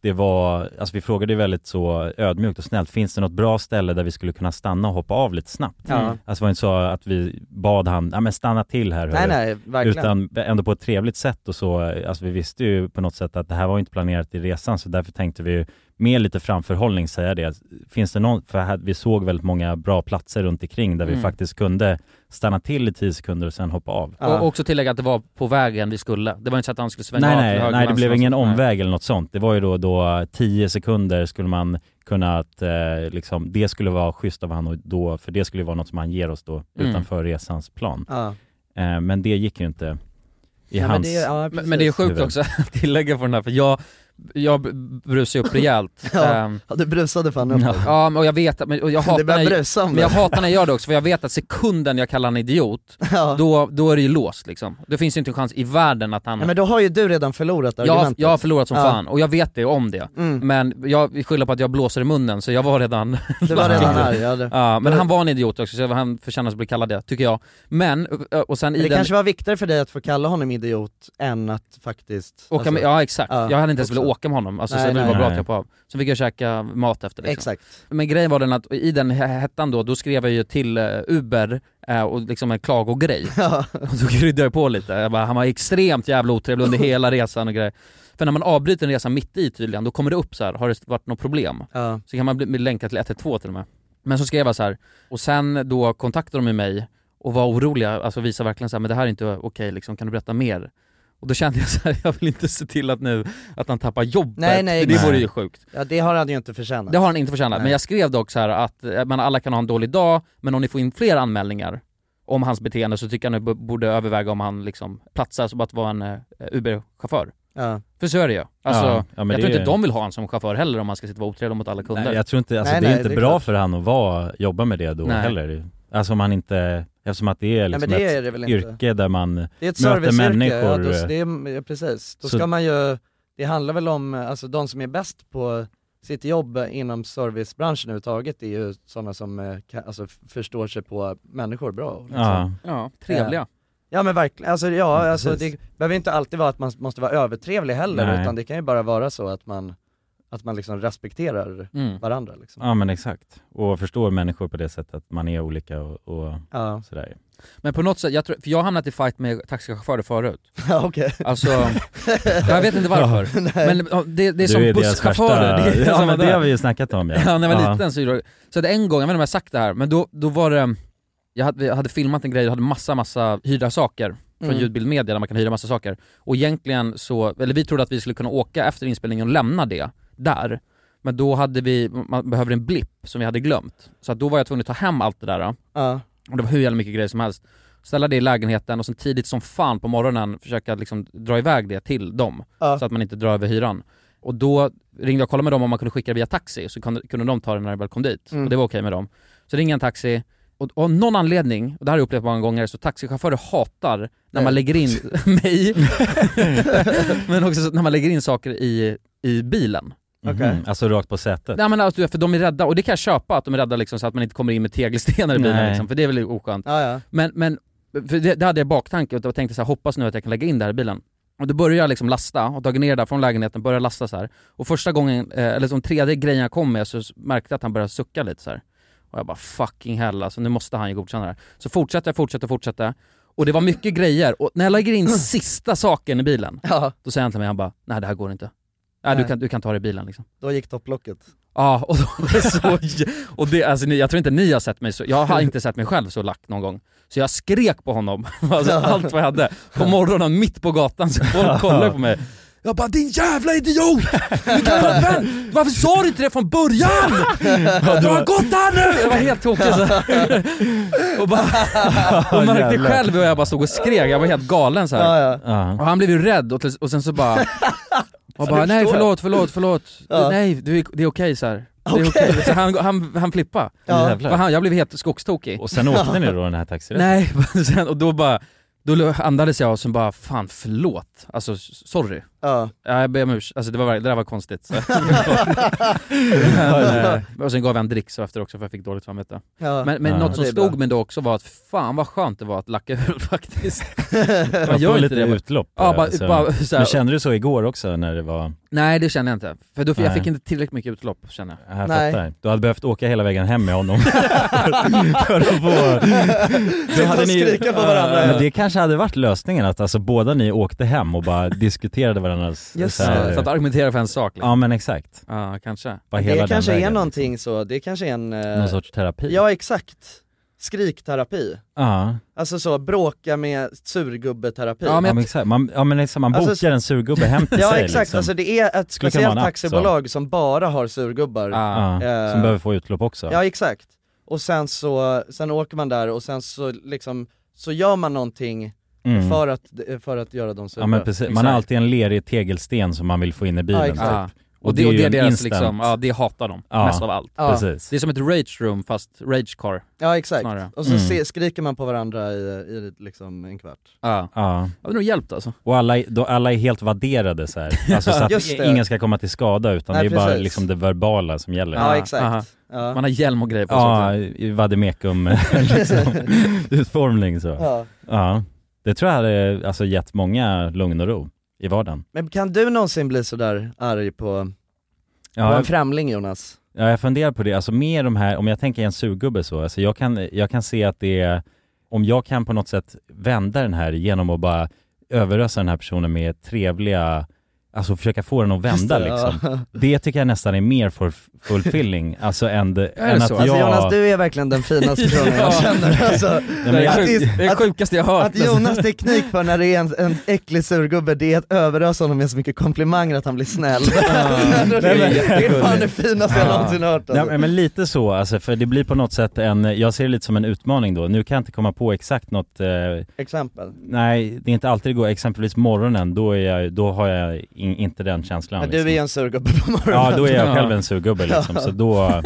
B: det var, alltså vi frågade ju väldigt så ödmjukt och snällt, finns det något bra ställe där vi skulle kunna stanna och hoppa av lite snabbt?
D: Ja.
B: Alltså det var inte så att vi bad han, ja men stanna till här
D: Nej,
B: hörru."
D: nej, verkligen.
B: Utan ändå på ett trevligt sätt och så, eh, alltså vi visste ju på något sätt att det här var ju inte planerat i resan så därför tänkte vi ju med lite framförhållning säga det, finns det någon, för här, vi såg väldigt många bra platser runt omkring där vi
C: Mm.
B: faktiskt kunde stanna till i 10 sekunder och sen hoppa av.
C: Och också tillägga att det var på vägen vi skulle. Det var inte så att han skulle svänga
B: Nej
C: av till
B: nej,
C: höger,
B: nej det
C: vänster
B: blev
C: och
B: ingen
C: sånt. Nej.
B: omväg eller något sånt. Det var ju då, då 10 sekunder skulle man kunna att, eh, liksom, det skulle vara schysst av han och då, för det skulle ju vara något som han ger oss då
C: Mm.
B: utanför resans plan.
D: Ja.
B: Eh, men det gick ju inte i
C: Ja, men
B: hans
C: det är- ja, Men- precis. men det är sjukt också att tillägga för den här, för jag, jag brusar upp rejält.
D: Ja,
C: Ehm,
D: ja, du brusade fan upp
C: Ja,
D: dig.
C: ja men- och jag vet att, men, och jag
D: Det
C: hatar
D: börjar
C: när-
D: brusa om
C: men
D: det.
C: jag hatar när jag gör det också, för jag vet att sekunden jag kallar han idiot, då, då är det ju låst liksom. Det finns ju inte en chans i världen att han...
D: Nej, men då har ju du redan förlorat
C: jag, har-
D: argumentet.
C: jag har förlorat som
D: Ja.
C: fan, och jag vet det om det.
D: Mm.
C: Men jag skyller på att jag blåser i munnen, så jag var redan...
D: Du var redan arg, ja, du-
C: ja, men han var en idiot också, så han förtjänar att bli kallad det, tycker jag. Men, ö, och sen
D: Men
C: i
D: det
C: den...
D: kanske var viktigare för dig att få kalla honom idiot än att faktiskt...
C: Åka med, ja exakt, jag hade inte ens
D: Alltså, också.
C: velat åka med honom, alltså,
D: Nej,
C: så det var
D: nej.
C: bra att
D: Nej.
C: jag på av. Sen fick jag käka mat efter liksom.
D: Exakt.
C: Men grejen var den att i den he- hettan då, då skrev jag ju till eh, Uber eh, och liksom en klagogrej. Och då kryddade jag på lite, jag bara, han var extremt jävla otrevlig under hela resan och grejer. För när man avbryter en resa mitt i tydligen, då kommer det upp så här, har det varit något problem? Så kan man bli, bli länkad till 112 till och med. Men så skrev jag så här, och sen då kontaktade de ju mig och var oroliga, alltså visade verkligen så här, men det här är inte okej liksom, kan du berätta mer? Och då kände jag så här, jag vill inte se till att nu, att han tappar jobbet,
D: Nej, nej,
C: för det
D: exakt.
C: vore ju sjukt.
D: Ja det har han ju inte förtjänat.
C: Det har han inte förtjänat,
D: Nej.
C: men jag skrev dock så här att eh, man alla kan ha en dålig dag, men om ni får in fler anmälningar om hans beteende så tycker jag ni b- borde överväga om han liksom platsar som att vara en eh, Uber-chaufför.
D: Ja.
C: För så är det ju. Alltså,
B: Ja, ja, men
C: jag
B: det
C: tror inte
B: är-
C: de vill ha honom som chaufför heller om man ska sitta och vara otrevlig mot alla kunder.
B: Nej, jag tror inte, alltså det är inte bra för han att vara, jobba med det då
C: Nej.
B: heller. Alltså om han inte, eftersom att det är liksom
D: men det är
B: ett
D: det väl inte.
B: yrke där man
D: Det är ett
B: möter
D: serviceyrke, ja,
B: människor.
D: då, det är, ja, precis. Då
B: Så-
D: ska man ju, det handlar väl om, alltså de som är bäst på sitt jobb inom servicebranschen överhuvudtaget är ju sådana som eh, ka- alltså, f- förstår sig på människor bra. liksom.
B: Ja.
C: Ja, trevliga.
D: Eh, Ja men verkligen, alltså ja,
B: Ja,
D: alltså,
B: precis.
D: det behöver inte alltid vara att man måste vara övertrevlig heller
B: Nej.
D: utan det kan ju bara vara så att man, att man liksom respekterar
B: Mm.
D: varandra liksom.
B: Ja men exakt, och förstår människor på det sättet, att man är olika och, och
D: Ja.
B: sådär.
C: Men på något sätt, jag, tror, för jag har hamnat i fight med taxichaufförer förut.
D: Ja, okej.
C: Alltså, jag vet inte varför.
B: Ja.
C: men ja, det, det är som
B: Du deras
C: busschaufförer.
B: värsta-
C: är
B: Ja
C: som
B: men
C: att-
B: det har vi ju snackat om ja.
C: Ja, när jag var
B: Ja.
C: liten så, gjorde jag- så att en gång, jag vet inte om jag har sagt det här, men då, då var det, jag hade, jag hade filmat en grej, jag hade massa massa hyrda saker från
G: Mm.
C: ljudbild media där man kan hyra massa saker. Och egentligen så, eller vi trodde att vi skulle kunna åka efter inspelningen och lämna det där. Men då hade vi, man behöver en blipp som vi hade glömt. Så att då var jag tvungen att ta hem allt det där.
D: Ja.
C: Och det var hur jävla mycket grejer som helst. Ställa det i lägenheten och sen tidigt som fan på morgonen försöka liksom dra iväg det till dem.
D: Ja.
C: Så att man inte drar över hyran. Och då ringde jag och kollade med dem om man kunde skicka det via taxi, så kunde, kunde de ta det när jag väl kom dit.
G: Mm.
C: Och det var okej med dem. Så ringer jag en taxi, och och av någon anledning, och det här har jag upplevt många gånger, så taxichaufförer hatar när
G: Nej.
C: man lägger in mig, men också så- när man lägger in saker i, i bilen.
B: Mhm. Alltså rakt på sätet.
C: Nej men alltså, du vet, för de är rädda, och det kan jag köpa att de är rädda liksom, så att man inte kommer in med tegelstenar i bilen
B: Nej.
C: liksom, för det är väl oskönt.
D: Ja, ja.
C: Men, men för det, det hade jag i baktanke och då tänkte jag så här, hoppas nu att jag kan lägga in det här i bilen. Och då började jag liksom lasta och tagit ner det där från lägenheten, började lasta så här. Och första gången, eh, eller som tredje grejen jag kom med så s- märkte jag att han började sucka lite så här. Och jag bara fucking hell alltså, nu måste han ju godkänna det här. Så fortsatte jag, fortsatte, fortsatte. Och det var mycket grejer, och när jag lägger in sista saken i bilen, då säger han till mig, han bara nej det här går inte. Nej, Du,
D: Nej.
C: kan, du kan ta det i bilen liksom.
D: Då gick topplocket.
C: Ja, och, då, så, och det, alltså, ni, jag tror inte ni har sett mig så, jag har inte sett mig själv så lack någon gång. Så jag skrek på honom, alltså, allt vad jag hade. På morgonen, mitt på gatan, så folk kollade på mig. Jag bara din jävla idiot! Du kan vara vän! Varför sa du inte det från början? Du har gått här nu! Jag var helt tokig så här. Och bara, och märkte
B: Jävlar.
C: själv hur jag bara stod och skrek, jag var helt galen så här. Och han blev ju rädd och, till, och sen så bara, och bara
G: Jag
C: nej
G: förstår.
C: förlåt, förlåt, förlåt,
G: Ja.
C: nej du, det är okej så här. Det är okej. Så han, han, han flippade.
B: Ja. Jävlar.
C: För han, jag blev helt skogstokig.
B: Och sen åkte ni då den här taxiresan?
C: Nej, sen, och då bara, då andades jag och sen bara, fan förlåt, alltså sorry.
D: Ja.
C: Ja, jag ber om ursäkt, alltså det, var, verkligen- det där var konstigt. Så. men, eh, och sen gav jag en dricks efter också för jag fick dåligt samvete.
D: Ja.
C: Men, men
D: Ja.
C: något som
D: Det är bra.
C: slog mig då också var att fan vad skönt det var att lacka ur faktiskt.
B: Man får lite
C: bara-
B: utlopp.
C: Ja, bara,
B: alltså.
C: bara, så här,
B: Men kände du så igår också när det var...
C: Nej det känner jag inte, för då, fick- jag
B: Nej.
C: fick inte tillräckligt mycket utlopp känner jag.
B: Jag fattar. Du hade behövt åka hela vägen hem med honom för att få...
C: Så bara skrika på varandra,
B: Ja,
C: ja.
B: Men det kanske hade varit lösningen att alltså båda ni åkte hem och bara diskuterade varandras...
C: Just det. Så att argumentera för en sak liksom.
B: Ja men exakt.
C: Ja kanske.
B: Bara hela
D: Det
B: den
D: kanske är
B: vägen. liksom.
D: någonting så, det kanske är en... eh,
B: Någon sorts terapi.
D: Ja exakt. Skrikterapi.
B: Ja.
D: Alltså så, bråka med surgubbeterapi.
B: Ja men, exakt, man, ja, men liksom, man bokar
D: Alltså,
B: en surgubbe hem till
D: ja,
B: sig
D: exakt,
B: liksom.
D: alltså det är ett
B: Skulle kunna vara
D: speciellt
B: en app,
D: taxibolag som bara har surgubbar.
B: Ja,
D: Eh,
B: som behöver få utlopp också.
D: Ja exakt. Och sen så, sen åker man där och sen så liksom, så gör man någonting
B: Mm.
D: för, att, för att göra dem sura.
B: Ja men precis, man har alltid en lerig tegelsten som man vill få in i bilen
D: exakt. Ja.
C: Och, det, och
B: ju
C: det är
B: en
C: deras
B: instant-
C: liksom, ja det hatar de
B: Ja,
C: mest av allt.
D: Ja.
B: precis.
C: Det är som ett rage room fast rage car.
D: Ja exakt.
C: Snarare.
D: Och så
B: Mm.
D: se, skriker man på varandra i, i liksom en kvart.
C: Ja.
B: Ja.
C: Det hade nog hjälpt alltså.
B: Och alla, är- då alla är helt vadderade så här. Alltså, så
D: Just
B: att
D: det.
B: ingen ska komma till skada utan
D: Nej,
B: det är bara
D: precis.
B: liksom det verbala som gäller.
D: Ja, exakt.
C: aha.
D: Ja.
C: Man har hjälm och grejer på sig
B: Ja, i vademekum liksom, utformning så. Ja.
D: Ja.
B: Det tror jag hade alltså, gett många lugn och ro i vardagen.
D: Men kan du någonsin bli sådär arg på, på
B: Ja,
D: en främling Jonas?
B: Ja, jag funderar på det. Alltså med de här, om jag tänker en surgubbe så, alltså jag kan, jag kan se att det är, om jag kan på något sätt vända den här genom att bara överösa den här personen med trevliga, alltså försöka få den att vända
D: det, ja.
B: liksom. Det tycker jag nästan är mer för fulfilling, alltså än, det-
C: Är det
B: än att
C: så?
B: jag...
D: Alltså Jonas, du är verkligen den finaste personen jag
C: Ja.
D: känner alltså,
B: Nej, men
C: Det
B: jag,
C: är sjukt-
D: att-
C: det är det
D: att-
C: sjukaste jag har hört.
D: Att Jonas teknik för när det är en, en äcklig surgubbe, det är att överösa honom med så mycket komplimanger att han blir snäll. det, är, det är fan det finaste jag
C: Ja.
D: någonsin hört alltså.
B: Nej, men lite så, alltså, för det blir på något sätt en, jag ser det lite som en utmaning då. Nu kan jag inte komma på exakt något eh,
D: Exempel.
B: Nej, det är inte alltid det går. Exempelvis morgonen, då, är jag, då har jag in, inte den känslan. liksom.
D: Men du är en surgubbe på morgonen.
B: Ja, då är jag
C: Ja.
B: själv en surgubbe liksom. Så då,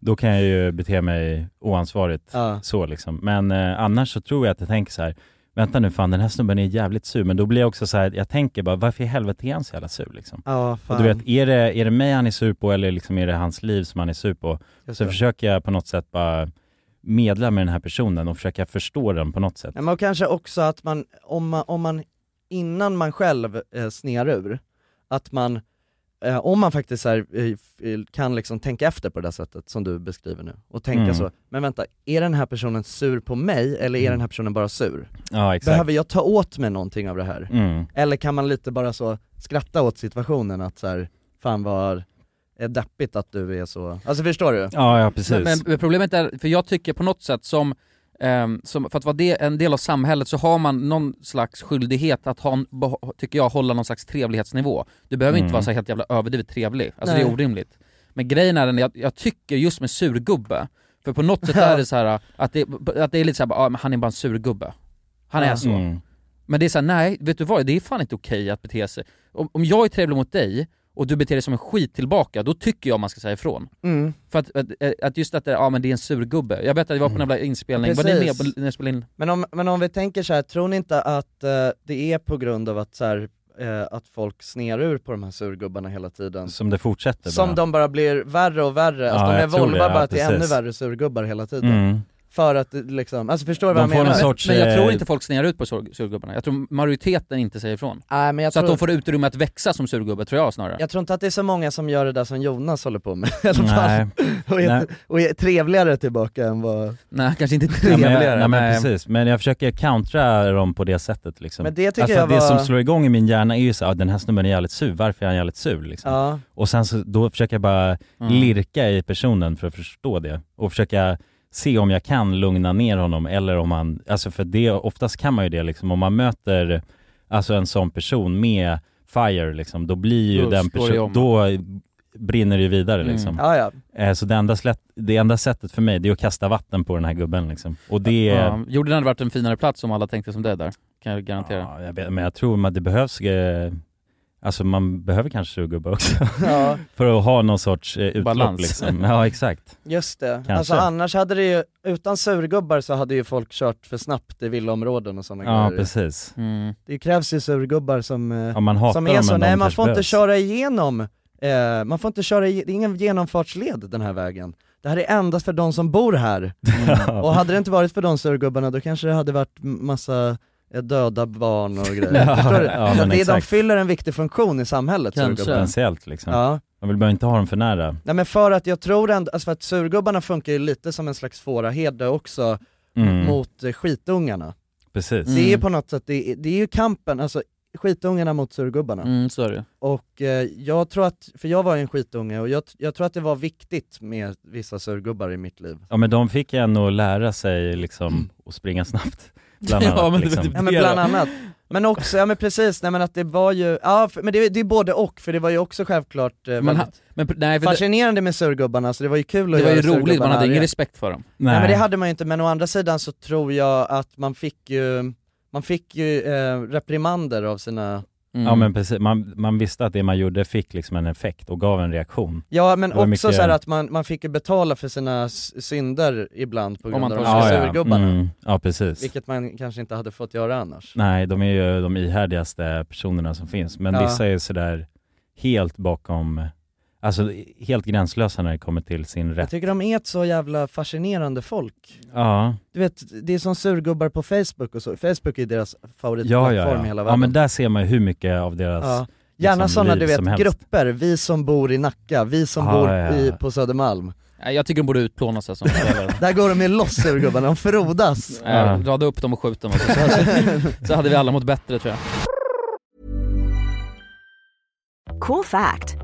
B: då kan jag ju bete mig oansvarigt.
D: Ja.
B: Så liksom. Men eh, annars så tror jag att jag tänker så här, vänta nu fan den här snubben är jävligt sur. Men då blir jag också så här, jag tänker bara varför i helvete är han så jävla sur liksom?
D: Ja,
B: Och
D: fan.
B: du vet, är det, är det mig han är sur på eller liksom är det hans liv som han är sur på?
D: Just
B: Så
D: det.
B: försöker jag på något sätt bara medla med den här personen och försöka förstå den på något sätt.
D: Nej, men kanske också att man, om man, om man innan man själv eh, snear ur, att man, eh, om man faktiskt så här, eh, f- kan liksom tänka efter på det där sättet som du beskriver nu, och tänka
B: Mm.
D: så, men vänta, är den här personen sur på mig eller är
B: Mm.
D: den här personen bara sur?
B: Ja, exakt.
D: Behöver jag ta åt mig någonting av det här?
B: Mm.
D: Eller kan man lite bara så skratta åt situationen att så här, fan vad är deppigt att du är så, alltså förstår du?
B: Ja, ja precis.
C: Men, men problemet är, för jag tycker på något sätt som, ehm, som för att vara det, en del av samhället så har man någon slags skyldighet att ha, en, beh- tycker jag, hålla någon slags trevlighetsnivå. Du behöver
B: Mm.
C: inte vara så här helt jävla överdrivet trevlig, alltså det
D: Nej.
C: är orimligt. Men grejen är den, jag, jag tycker just med surgubbe, för på något sätt är det så här att det, att det är lite så här, bara, ah, men han är bara en surgubbe. Han är
D: Ja.
C: så.
B: Mm.
C: Men det är såhär, nej, vet du vad? Det är fan inte okej att bete sig. Om, om jag är trevlig mot dig och du beter dig som en skit tillbaka, då tycker jag man ska säga ifrån.
D: Mm.
C: För att, att, att just att det, ja men det är en surgubbe. Jag vet att jag var på en jävla inspelning, var ni med
D: Mm. Precis.
C: på när jag spelade in?
D: Men om, men om vi tänker så här, tror ni inte att eh, det är på grund av att, så här, eh, att folk snear ur på de här surgubbarna hela tiden?
B: Som det fortsätter
D: Som
B: bara.
D: de bara blir värre och värre,
B: Ja,
D: alltså de
B: jag tror
D: evolvar
B: det, ja,
D: bara till
B: precis.
D: ännu värre surgubbar hela tiden.
B: mm.
D: För att det liksom, alltså förstår du vad
B: De
D: jag
B: får
D: menar?
B: någon sorts...
C: Men jag
B: eh,
C: tror inte folk snear ut på sur, surgubbarna. Jag tror majoriteten inte säger ifrån.
D: Nej men jag
C: Så att
D: tror,
C: de får utrymme att växa som surgubbe tror jag snarare.
D: jag tror inte att det är så många som gör det där som Jonas håller på med i alla fall.
B: Nej,
D: Och är,
B: Nej.
D: och är trevligare tillbaka än vad...
C: Nej, kanske inte
B: nej, men,
C: trevligare.
B: jag, nej, men
C: Nej.
B: precis. Men jag försöker countera dem på det sättet liksom.
D: Men det tycker
B: alltså,
D: jag
B: det
D: var...
B: som slår igång i min hjärna är ju så, ah, den här snubben är jävligt sur, varför är han jävligt sur liksom?
D: Ja,
B: Och sen så, då försöker jag bara
C: Mm.
B: lirka i personen för att förstå det och försöka se om jag kan lugna ner honom eller om han, alltså för det, oftast kan man ju det liksom, om man möter alltså en sån person med fire liksom, då blir ju
C: Då
B: den
C: slår det
B: personen,
C: om.
B: då brinner det ju vidare
C: Mm.
B: liksom.
D: ja, ja.
B: Eh, Så det enda, slätt, det enda sättet för mig det är att kasta vatten på den här gubben liksom. Och det...
C: Ja, jorden hade varit en finare plats om alla tänkte som det där, kan jag garantera.
B: Ja, jag vet, men jag tror att det behövs eh, Alltså man behöver kanske sugarboat också.
D: Ja.
B: För att ha någon sorts eh, utlopp
D: Balans.
B: liksom. Ja exakt.
D: Just det,
B: Kanske.
D: alltså annars hade det ju, utan surgubbar så hade ju folk kört för snabbt i villaområden och sådana
B: Ja
D: grejer.
B: precis.
C: Mm.
D: Det krävs ju surgubbar som, eh,
B: Ja, man hatar
D: som
B: dem,
D: är så,
B: men
D: nej
B: de
D: man
B: kanske
D: får inte
B: behövs.
D: köra igenom, eh, man får inte köra, i- det är ingen genomfartsled den här vägen. Det här är endast för de som bor här. Och hade det inte varit för de surgubbarna då kanske det hade varit m- massa eh, döda barn och grejer.
B: Ja,
D: Förstår du?
B: ja,
D: Så
B: men
D: att det, de
B: exakt.
D: fyller en viktig funktion i samhället, surgubbarna.
B: Potentiellt liksom.
D: Ja.
B: Man vill bara inte ha dem för nära.
D: Nej men för att jag tror ändå, alltså för att surgubbarna funkar ju lite som en slags fåraherde också
B: Mm.
D: mot Mm. eh, skitungarna.
B: Precis.
C: Mm.
D: Det är ju på något sätt, det är, det är ju kampen, alltså skitungarna mot surgubbarna.
C: Mm, så är det.
D: Och eh, jag tror att, för jag var ju en skitunge och jag, jag tror att det var viktigt med vissa surgubbar i mitt liv.
B: Ja men de fick en att lära sig liksom att springa snabbt. Bland annat liksom.
D: ja, men bland annat. Men också, ja men precis, nej men att det var ju, ja för, men det, det är både och, för det var ju också självklart eh,
C: Men,
D: väldigt
C: ha- men, pr- nej, för det,
D: fascinerande med surgubbarna, så det var ju kul att
C: det var ju
D: göra
C: roligt, man
D: surgubbarna
C: hade ingen
D: arga.
C: respekt för dem.
D: Nej. men det hade man ju inte, men å andra sidan så tror jag att man fick ju, man fick ju eh, reprimander av sina
B: Ja
C: Mm.
B: men precis, man, man visste att det man gjorde fick liksom en effekt och gav en reaktion.
D: Ja men
B: Det var
D: också
B: mycket-
D: så här att man, man fick ju betala för sina s- synder ibland på
C: Om
D: grund
C: man
D: av
C: tar
D: de
C: sig
D: här
C: ur.
D: surgubbarna,
B: Mm, ja precis.
D: vilket man kanske inte hade fått göra annars
B: Nej, de är ju de ihärdigaste personerna som finns, men
D: Ja.
B: vissa är sådär helt bakom, alltså helt gränslösa när det kommer till sin
D: Jag
B: rätt.
D: tycker de är ett så jävla fascinerande folk
B: Ja,
D: Du vet, det är som surgubbar på Facebook och så, Facebook är ju deras
B: ja, ja.
D: favoritplattform i
B: Ja.
D: hela
B: ja,
D: världen
B: men där ser man ju hur mycket av deras
D: Ja. Gärna
B: liksom,
D: sådana
B: liv
D: du vet,
B: som helst.
D: grupper, vi som bor i Nacka, vi som
B: Ja,
D: bor
B: ja, ja.
D: I, på Södermalm
C: Nej, Jag tycker de borde utplånas alltså.
D: Där går de ju loss surgubbarna, de frodas
C: Ja. Rada Eh, upp dem och skjut dem alltså. så, så, så hade vi alla mått bättre tror jag.
H: Cool fact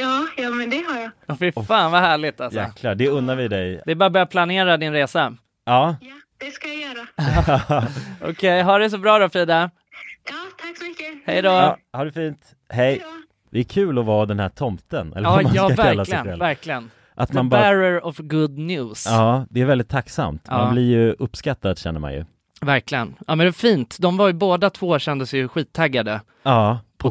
I: Ja, ja, men det har jag.
G: Åh, Fy fan vad härligt alltså.
B: Jäklar, det unnar vi dig.
G: Det är bara att börja planera din resa.
B: Ja.
I: Det ska jag göra.
G: Okej, Eh, ha det så bra då Frida.
I: Ja, tack så mycket.
G: Hej då.
B: ja, ha det fint. Hej. Det är kul att vara den här tomten, eller
G: Ja,
B: vad man
G: ja
B: ska kalla sig
G: verkligen,
B: själv.
G: verkligen.
B: Att
G: The
B: man bara-
G: bearer of good news.
B: Ja, det är väldigt tacksamt. Man
G: Ja.
B: blir ju uppskattad känner man ju.
G: Verkligen. Ja men det är fint. De var ju båda två kände sig ju skittaggade
B: Ja.
G: på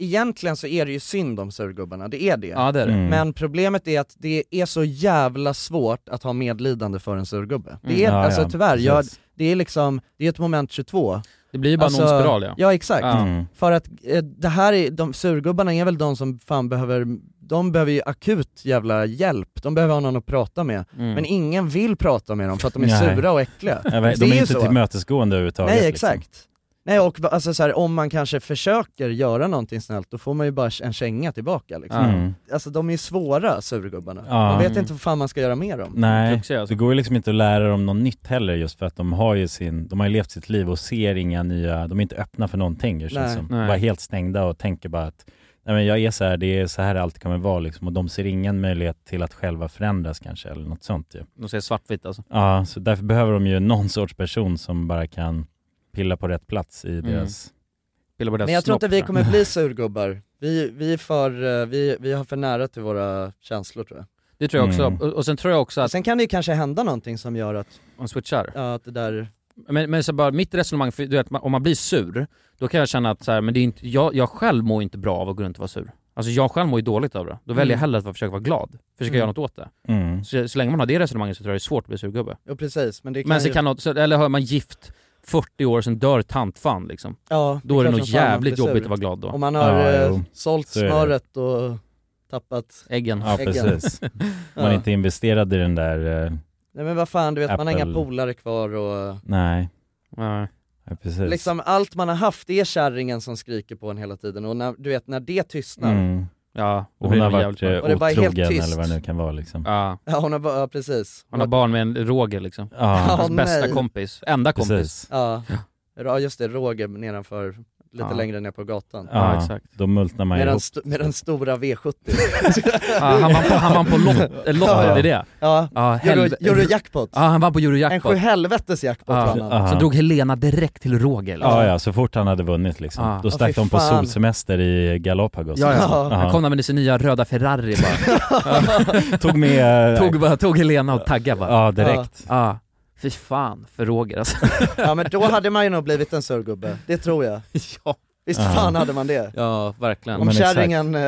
D: Egentligen så är det ju synd om surgubbarna, det är det.
C: Ja, det är det. Mm.
D: Men problemet är att det är så jävla svårt att ha medlidande för en surgubbe. Det är,
C: Mm. Ja,
D: alltså
C: ja,
D: tyvärr, jag,
C: precis.
D: det är liksom, det är ett moment 22.
C: Det blir ju bara en ond spiral, Alltså, ja.
D: Ja exakt.
C: Ja. Mm.
D: För att eh, det här är, de, surgubbarna är väl de som fan behöver, de behöver ju akut jävla hjälp, de behöver ha någon att prata med.
B: Mm.
D: Men ingen vill prata med dem för att de är
B: Nej.
D: sura och äckliga.
B: Ja,
D: Det
B: De
D: ju
B: är inte
D: så.
B: tillmötesgående överhuvudtaget.
D: Nej
B: liksom.
D: exakt. Nej och va- alltså, så här, om man kanske försöker göra någonting snällt, då får man ju bara en känga tillbaka liksom.
B: Mm.
D: Alltså de är ju svåra surgubbarna,
B: Ja.
D: man vet
B: Mm.
D: inte vad fan man ska göra med dem.
B: Nej,
C: alltså.
B: det går ju liksom inte att lära dem något nytt heller just för att de har ju sin, de har ju levt sitt liv och ser inga nya, de är inte öppna för någonting det känns
D: Nej.
B: som.
D: Nej.
B: Bara helt stängda och tänker bara att nej men jag är så här, det är så här det alltid kommer vara liksom och de ser ingen möjlighet till att själva förändras kanske eller något sånt ju.
C: De ser svartvitt alltså.
B: Ja, så därför behöver de ju någon sorts person som bara kan pilla på rätt plats
C: Mm.
B: i deras...
C: Pilla på
D: Men jag tror inte vi kommer bli surgubbar, vi, vi, är för, eh, vi, vi har för nära till våra känslor tror jag.
C: Det tror jag också.
D: Mm.
C: Och, och sen tror jag också att...
D: Sen kan det ju kanske hända någonting som gör att...
C: Man switchar?
D: Ja, att det där...
C: Men, men så bara mitt resonemang, för du vet, man- om man blir sur, då kan jag känna att så här, men det är inte, jag, jag själv mår inte bra av att gå runt och vara sur. Alltså jag själv mår ju dåligt av det. Då väljer jag
D: Mm.
C: hellre att försöka vara glad, försöka
D: Mm.
C: göra något åt det.
B: Mm.
C: Så, så länge man har det resonemanget så tror jag det är svårt att bli surgubbe.
D: Ja precis, men det kan
C: Men så
D: ju...
C: kan något, så, eller har man gift 40 år, sen dör tantfan liksom.
D: Ja,
C: då är det
D: klart
C: nog
D: som fan man
C: jävligt
D: blir sur.
C: jobbigt att vara glad då.
D: Om man har
B: Ja,
D: eh,
B: jo.
D: sålt
B: Så är det.
D: smöret och tappat
C: äggen.
B: Ja, precis. Man är
D: Ja.
B: inte investerad i den där... eh,
D: Nej men vad fan, du vet man har inga
B: Apple.
D: polare kvar och...
B: Nej. Ja, precis.
D: Liksom allt man har haft, det är kärringen som skriker på en hela tiden och när, du vet när det tystnar
B: Mm.
C: Ja, då
B: och
C: blir
B: hon
C: det
B: har varit
C: jävligt
B: eh,
C: bra. Och det är bara helt
B: otrogen
C: tyst.
B: eller vad det nu kan vara liksom.
C: Ja.
D: Ja hon har bara, ja, precis
C: Man har barn med en Roger liksom. Hans
D: Ja,
C: bästa
D: nej.
C: kompis, enda kompis.
D: Ja, ja just det, Roger nedanför, lite
C: Ja.
D: längre ner på gatan
B: Ja, Ja, exakt. då multnar man
D: med
B: ihop.
D: den, st- med den stora V70
C: Ja, han vann på, han vann på lot, eh, lotter,
D: Ja.
C: det är det?
D: Ja, Euro,
C: helv-
D: Eurojackpot
C: Ja, han vann på
D: En
C: Eurojackpot.
D: sjuhelvetes jackpot
C: Ja.
D: vann han.
C: Sen drog Helena direkt till Roger liksom.
B: Ja, ja, så fort han hade vunnit liksom.
C: Ja.
B: Då
C: Åh,
B: stack
C: fy
B: de på
C: fan.
B: solsemester i Galapagos.
C: Ja, ja.
B: Liksom.
C: Han kom där med sin nya röda Ferrari bara.
B: Tog med... eh,
C: tog, bara, tog Helena och taggade bara.
B: Ja, direkt.
C: Ja. ja. Fy fan för Roger alltså.
D: Ja men då hade man ju nog blivit en surgubbe, det tror jag
C: ja.
D: Visst
C: Ja.
D: fan hade man det?
C: Ja, verkligen.
D: Om kärringen, eh,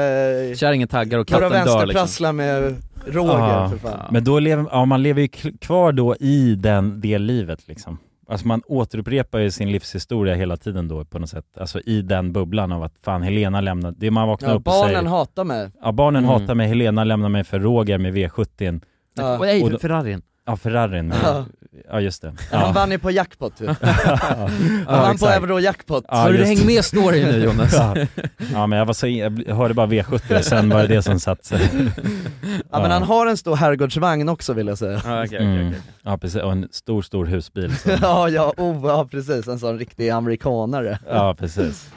C: Kärringen taggar och katten
D: några
C: dör liksom.
D: vänsterprasslar med Roger
B: Ja.
D: för fan.
B: Men då lever, ja, man lever ju k- kvar då i den, det livet liksom. Alltså man återupprepar ju sin livshistoria hela tiden då på något sätt. Alltså i den bubblan av att fan Helena lämnade, det man vaknar
D: Ja,
B: upp och säger.
D: barnen hatar mig.
B: Ja barnen
D: Mm.
B: hatar mig, Helena lämnar mig för Roger med V70.
D: Ja. Och nej,
B: då-
C: Ferrarin.
B: Ja Ferrarin, ja,
D: Ja.
B: ja just det. Ja.
D: Han vann ju på jackpot typ. Han
B: Ja,
D: vann på
B: exakt.
D: euro-jackpot.
B: Ja, just det. ja. ja men jag, var så, in- jag bl- hörde bara V70, sen var det det som satt sig.
D: Ja men han har en stor herrgårdsvagn också vill jag säga.
B: Mm. Ja precis, och en stor stor husbil. som-
D: ja, ja, oh, ja precis, en sån riktig amerikanare.
B: Ja precis.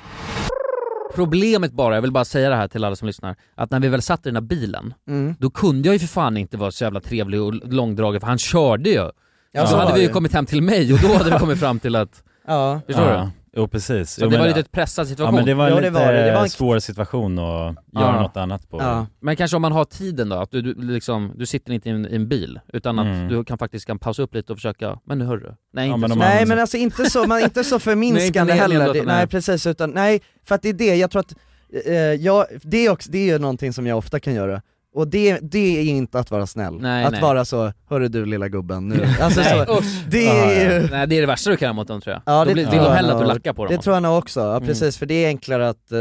C: Problemet bara, jag vill bara säga det här till alla som lyssnar, att när vi väl satt i den här bilen,
D: Mm.
C: då kunde jag ju för fan inte vara så jävla trevlig och långdragen för han körde ju.
D: Ja,
C: så
D: så
C: hade
D: var
C: vi ju
D: det.
C: kommit hem till mig och då hade vi kommit fram till att...
D: Ja.
C: Förstår
B: ja.
C: du?
B: Jo precis.
C: Så det var lite ett pressad situation.
B: Ja men det var en
C: Jo,
B: lite
C: det var det. Det var en-
B: svår situation att göra något annat på.
C: Men kanske om man har tiden då, att du, du, liksom, du sitter inte i en, i en bil, utan att
B: Mm.
C: du kan faktiskt kan pausa upp lite och försöka, men nu hörru. Nej
B: Ja,
C: inte
B: men
C: så.
B: om
D: Nej men alltså inte så, man, inte så förminskande
C: Nej, inte
D: heller, det,
C: nedlåtande.
D: nej precis, utan nej, för att det är det, jag tror att, eh, jag, det, är också, det är ju någonting som jag ofta kan göra, och det, det är inte att vara snäll,
C: Nej,
D: att
C: nej.
D: vara så, hörru du lilla gubben nu, alltså
C: Nej,
D: så,
C: usch.
D: det är ju
C: Nej det är det värsta du kan göra mot dem tror jag.
D: Ah, Ja,
C: då blir, vill
D: tror
C: de
D: jag
C: hellre att du
D: nog.
C: lackar på dem.
D: Det
C: alltså.
D: tror jag nog också, ja,
C: Mm. Mm.
D: precis, för det är enklare att eh,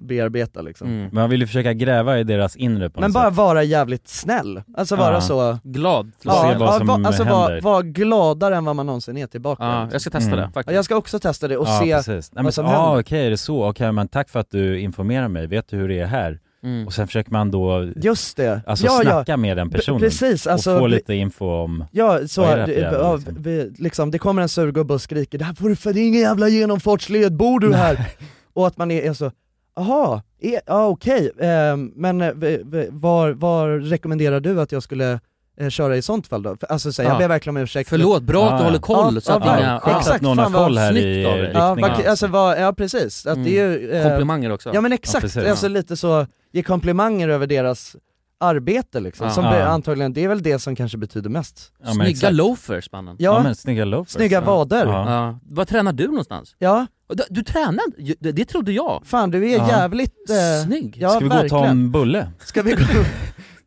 D: bearbeta liksom.
B: Men man vill ju försöka gräva i deras inre på
D: Men
B: något
D: bara
B: sätt.
D: vara jävligt snäll, alltså vara
B: Ja.
D: så
C: Glad.
B: Och se vad som
D: va- alltså vara
B: händer.
D: var gladare än vad man någonsin är tillbaka.
C: Ja, jag ska testa
B: Mm.
C: det faktiskt.
D: Ja, jag ska också testa det och se
B: precis. Nej, men,
D: vad som
B: ah,
D: händer.
B: okej, är det så? Okej, men tack för att du informerar mig. Vet du hur det är här?
C: Mm.
B: Och sen försöker man då
D: Just det.
B: Alltså
D: Ja, ja.
B: snacka med den
D: P-
B: personen.
D: precis, alltså,
B: och få
D: vi-
B: lite info om
D: Ja, så,
B: vad är det här för
D: det,
B: jävla,
D: ja,
B: liksom?
D: vi, liksom, det kommer en surgubbe och skriker 'Det här får du för, det är ingen jävla genomfartsled, bor du här?' Och att man är, är så, jaha, är- ja okej, ehm, men eh, v- v- var, var rekommenderar du att jag skulle eh, köra i sånt fall då? För, alltså så, här,
C: Ja.
D: jag ber verkligen om ursäkt
C: Förlåt, bra att du håller koll, så att inga-
D: exakt,
C: skönt att någon har
D: fan, vad
C: koll här i
D: snyggt av dig. ja,
C: riktningen.
D: vad- alltså, vad, ja precis, att det är ju, eh,
C: Mm. Komplimanger också.
D: Ja men
C: Ja,
D: exakt,
C: precis.
D: alltså lite så, ge komplimanger över deras arbete liksom,
C: Ja.
D: som
C: Ja.
D: be- antagligen, det är väl det som kanske betyder mest
B: Ja, men
C: Snygga
B: exakt.
C: loafers mannen.
D: Ja. Ja,
B: men snygga loafers.
D: Snygga
B: Ja.
D: vader.
B: Ja.
C: Vad tränar du någonstans?
D: Ja.
C: Du, du tränar? Ju- Det, det trodde jag.
D: Fan du är
C: Ja.
D: jävligt... Eh,
C: Snygg.
D: Ja,
B: Ska vi gå och ta
D: verkligen.
B: en bulle?
D: Ska vi gå...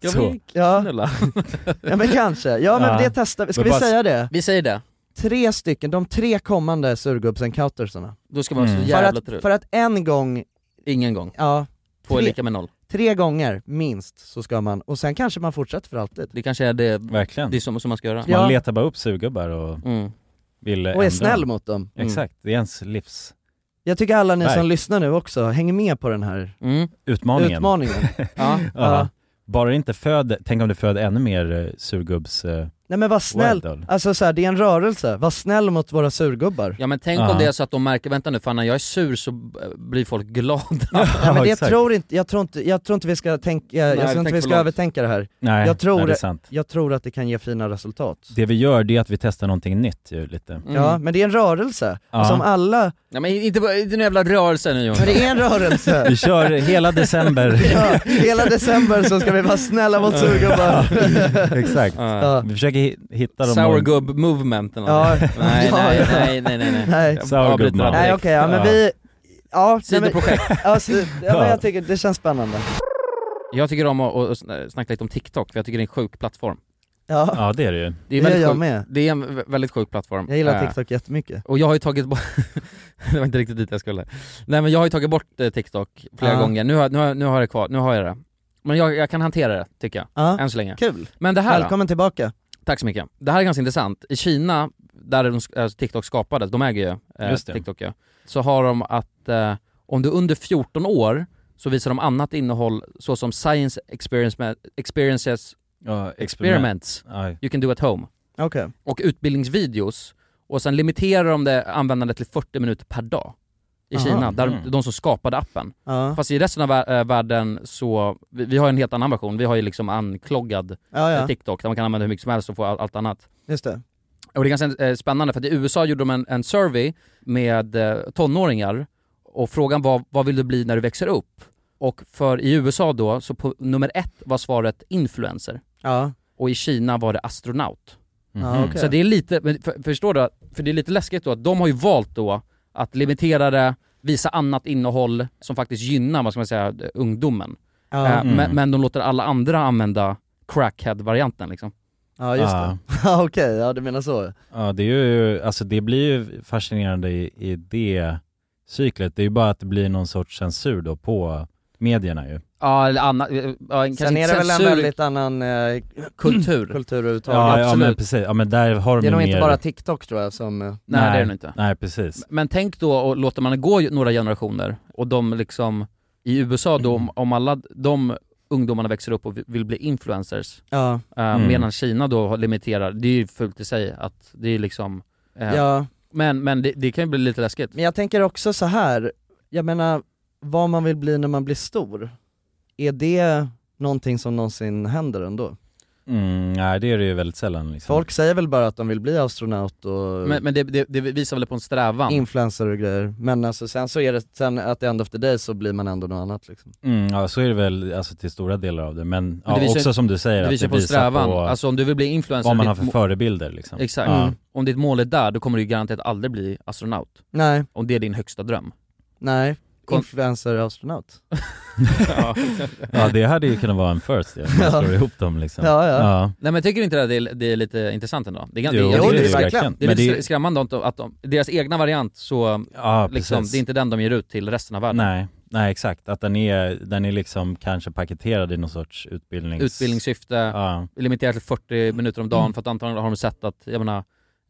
C: Ska
B: Så.
C: vi
D: Ja.
C: knulla?
D: ja men kanske, ja men
B: Ja.
D: det testar vi, ska
B: Men
D: vi
B: bara-
D: säga det?
C: Vi säger det.
D: Tre stycken, de tre kommande surgubbs-encountersarna.
C: Då ska man vara
D: Mm.
C: så
D: För
C: jävla
D: att,
C: trött.
D: för att en gång,
C: Ingen gång.
D: ja,
C: Två är
D: tre-
C: lika med noll.
D: tre gånger minst så ska man, och sen kanske man fortsätter för alltid.
C: Det kanske är det,
B: Verkligen.
C: det är som, som man ska göra.
B: Man
D: Ja.
B: letar bara upp surgubbar och
C: Mm.
B: vill
D: Och är
B: ändra
D: snäll mot dem. Mm.
B: Exakt, det är ens livs
D: Jag tycker alla ni
B: Verk.
D: som lyssnar nu också, häng med på den här
C: Mm.
B: utmaningen.
D: utmaningen.
C: Ja.
B: Ja. Bara det inte föd, tänk om det föder ännu mer eh, surgubbs... eh,
D: Nej men var snäll,
B: Wild.
D: alltså så här, det är en rörelse, var snäll mot våra surgubbar.
C: ja men tänk
B: Ja.
C: om det är så att de märker, vänta nu fan när jag är sur så eh, blir folk glada.
D: Nej, men det
B: exakt.
D: tror inte, jag tror inte, jag tror inte vi ska tänka, jag,
C: Nej,
D: tror
C: tänk
D: inte vi
C: för
D: ska
C: långt.
D: övertänka det här.
B: Nej,
D: jag, tror,
B: nej, det är sant.
D: jag tror att det kan ge fina resultat.
B: Det vi gör det är att vi testar någonting nytt ju lite.
D: Ja, men det är en rörelse. Alltså om alla,
C: Mm. Nej men inte, bara- inte någon jävla rörelse nu Jonas.
D: men det är en rörelse.
B: Vi kör hela december.
D: ja, hela december så ska vi vara snälla mot surgubbar.
B: Exakt.
C: Ja.
B: Vi försöker hi- hitta de...
C: Sourgub movement eller
D: Ja.
C: något. nej,
D: Ja,
C: nej,
D: ja.
C: nej, nej, nej, nej.
D: Nej.
C: Jag avbryter bara
D: Nej
C: direkt.
D: okej, ja men vi, ja. nej, men-
C: Sidoprojekt.
D: Ja, så- ja men jag tycker det känns spännande.
C: Jag tycker om att, att sn- snacka lite om TikTok, för jag tycker det är en sjuk plattform.
D: Ja,
B: Ja det är det ju.
C: Det är,
D: Det
C: väldigt
D: gör jag
C: sjuk,
D: med.
C: Det är en vä- väldigt sjuk plattform.
D: jag gillar
C: Eh,
D: TikTok jättemycket.
C: Och jag har ju tagit bort, det var inte riktigt dit jag skulle. Nej men jag har ju tagit bort eh, TikTok flera
D: Ja.
C: gånger, nu har, nu, har, nu har jag det kvar, nu har jag det. Men jag, jag kan hantera det, tycker jag.
D: Ja.
C: Än så länge.
D: Kul.
C: Men det här då?
D: Välkommen tillbaka.
C: Tack så mycket. Det här är ganska intressant. I Kina, där de, sk- alltså TikTok skapades, de äger ju eh,
B: Just det.
C: TikTok ju, så har de att eh, om du är under 14 år så visar de annat innehåll såsom science experience med, experiences,
B: Ja,
C: experiments
B: Ja,
C: you can do at home
D: Okej.
C: och utbildningsvideos och sen limiterar de det användandet till 40 minuter per dag i
D: Aha.
C: Kina, där
B: Mm.
C: de som skapade appen.
D: Ja.
C: Fast i resten av vä- eh, världen så, vi, vi har en helt annan version, vi har ju liksom ankloggad
D: Ja,
C: eh,
D: ja,
C: TikTok där man kan använda hur mycket som helst och få all, allt annat.
D: just det.
C: Och det är ganska eh, spännande för att i USA gjorde de en, en survey med eh, tonåringar och frågan var vad vill du bli när du växer upp? Och för i USA då, så på nummer ett var svaret influencer
D: Ja,
C: och i Kina var det astronaut.
D: ja
B: mhm.
D: okej.
C: Så det är lite, men för, förstår du? För det är lite läskigt då att de har ju valt då att limitera det, visa annat innehåll som faktiskt gynnar, vad ska man säga, ungdomen.
D: Ja. Mm.
C: Eh, men, men de låter alla andra använda crackhead-varianten liksom.
D: Ja just
B: Ja.
D: det. Ja okej, ja du menar så.
B: Ja, det är ju, alltså det blir ju fascinerande i, i det cyklet. Det är ju bara att det blir någon sorts censur då på medierna ju.
C: Ja, eller annan, ja, kanske
D: Sen är
C: inte
D: det väl en
C: censur-
D: väldigt annan eh,
C: Kultur.
D: kultur
B: Ja,
D: överhuvudtaget.
B: ja men precis. Ja, men där har de
D: Det är
B: ju
D: nog
B: mer...
D: inte bara TikTok tror jag som... eh,
C: Nej, det är det inte.
B: Nej, precis.
C: Men tänk då, och låter man det gå några generationer och de liksom, i USA då, om, om alla de ungdomarna växer upp och vi- vill bli influencers,
D: Ja.
C: eh,
D: Mm.
C: medan Kina då har- limiterar, det är ju fult i sig att det är liksom eh,
D: Ja.
C: Men, men det, det kan ju bli lite läskigt.
D: Men jag tänker också så här, jag menar, vad man vill bli när man blir stor, är det någonting som någonsin händer ändå?
B: Mm, nej, det är det ju väldigt sällan liksom.
D: Folk säger väl bara att de vill bli astronaut
B: Mm.
D: och
C: Men, men det, det, det visar väl på en strävan?
D: influencer och grejer, men alltså sen så är det, sen att det end of the day så blir man ändå något annat liksom.
B: Mm, ja, så är det väl alltså, till stora delar av det. Men,
C: Men
B: ja,
C: det visar-
B: också som du säger,
C: det
B: att
C: visar
B: det
C: på en
B: visar
C: strävan.
B: på
C: Alltså, om du vill bli influencer,
B: vad man har
C: ditt
B: för
C: må-
B: förebilder liksom.
C: Exakt. Mm.
B: Ja.
C: Om ditt mål är där, då kommer du ju garanterat aldrig bli astronaut.
D: Nej.
C: Om det är din högsta dröm.
D: Nej,
C: Kon-
D: influencer-astronaut.
C: ja.
B: ja, det hade ju kunnat vara en first ja, om man
D: Ja.
B: slår ihop dem liksom.
D: Ja, ja.
C: Nej men tycker du inte att det är, det är lite intressant ändå? Det är, gan-
B: Jo,
C: jag
B: det
C: tycker
B: är det ju
C: skrämmande.
B: verkligen.
C: Det är
B: Men
C: lite
B: det-
C: skrämmande att de, att de, deras egna variant så,
B: Ja,
C: liksom,
B: precis.
C: det är inte den de ger ut till resten av världen.
B: Nej, nej exakt. Att den är, den är liksom kanske paketerad i någon sorts utbildnings...
C: Utbildningssyfte,
B: Ja.
C: limiterat till 40 minuter om dagen för att antagligen har de sett att, jag menar,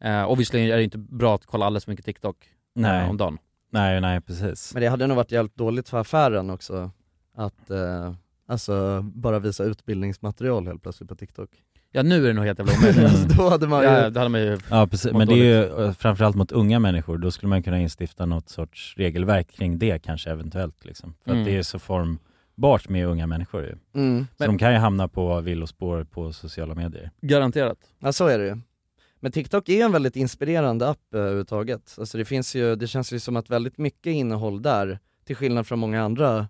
C: eh, obviously är det inte bra att kolla alldeles för mycket TikTok
B: Nej.
C: Eh, om dagen.
B: Nej, nej precis.
D: Men det hade nog varit jävligt dåligt för affären också, att eh, alltså bara visa utbildningsmaterial helt plötsligt på TikTok. alltså,
C: Ja nu är det nog helt jävla omöjligt.
D: Då hade man ju-
C: ja, då hade man ju
B: Ja precis,
C: mått
B: men det är ju
C: dåligt.
B: eh, framförallt mot unga människor, då skulle man kunna instifta något sorts regelverk kring det kanske eventuellt liksom. För
C: Mm.
B: att det är så formbart med unga människor ju.
D: Mm.
B: Så de kan ju hamna på villospår på sociala medier.
C: Garanterat.
D: Ja så är det ju. Men TikTok är en väldigt inspirerande app eh, överhuvudtaget. Alltså det finns ju, det känns ju som att väldigt mycket innehåll där, till skillnad från många andra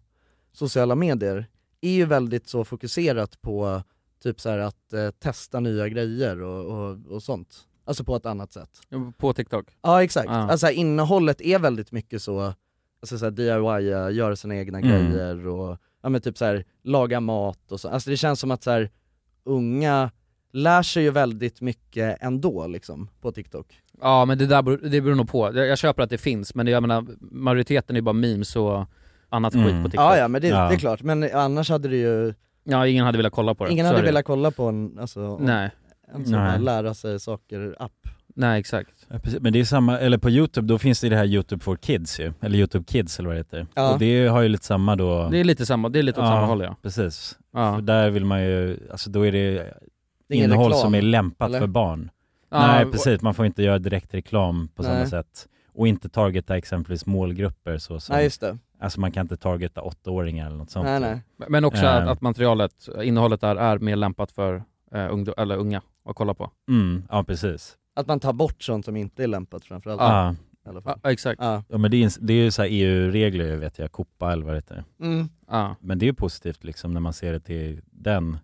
D: sociala medier, är ju väldigt så fokuserat på typ så här att eh, testa nya grejer och, och, och sånt. Alltså på ett annat sätt.
C: På TikTok?
D: Ja exakt.
C: Ja.
D: Alltså här, innehållet är väldigt mycket så, alltså så här DIY, eh, göra sina egna
B: Mm.
D: grejer och ja men typ så här laga mat och så. Alltså det känns som att så här unga lär sig ju väldigt mycket ändå liksom på TikTok.
C: Ja men det där beror, det beror nog på. Jag, jag köper att det finns men jag menar majoriteten är ju bara memes och annat skit på TikTok.
D: Ja ja men det, det är klart, men annars hade det ju,
C: Ja ingen hade velat kolla på det.
D: ingen
C: Så
D: hade
C: är det.
D: velat kolla på en, alltså,
C: Nej.
D: en sån
B: Nej.
D: här lära sig saker app.
C: Nej exakt.
B: Ja, precis. Men det är samma, eller på Youtube, då finns det ju det här Youtube for kids ju, eller Youtube kids eller vad det heter.
C: Ja.
B: Och det har ju lite samma då...
C: Det är lite samma, det är lite åt samma håll ja.
B: Precis.
C: Ja.
B: För där vill man ju, alltså då är det
C: Det är ingen
B: innehåll
C: reklam,
B: som är lämpat
C: eller?
B: för barn.
C: Ja,
B: Nej
C: och-
B: precis, man får inte göra direkt reklam på samma
D: Nej.
B: sätt. Och inte targeta exempelvis målgrupper så som,
D: Nej, just det.
B: alltså man kan inte targeta åttaåringar eller något sånt.
D: Nej, nej.
C: Men också
B: Eh,
C: att, att materialet, innehållet där är mer lämpat för eh, ungdom, eller unga att kolla på.
B: Mm, ja precis.
D: Att man tar bort sånt som inte är lämpat framförallt.
B: Ja.
D: I alla fall.
C: Ja, exakt.
D: Ja.
B: Ja men det är, ins- det är ju så här EU-regler vet jag, Copa eller vad det heter.
D: Mm.
C: Ja.
B: Men det är ju positivt liksom när man ser det till den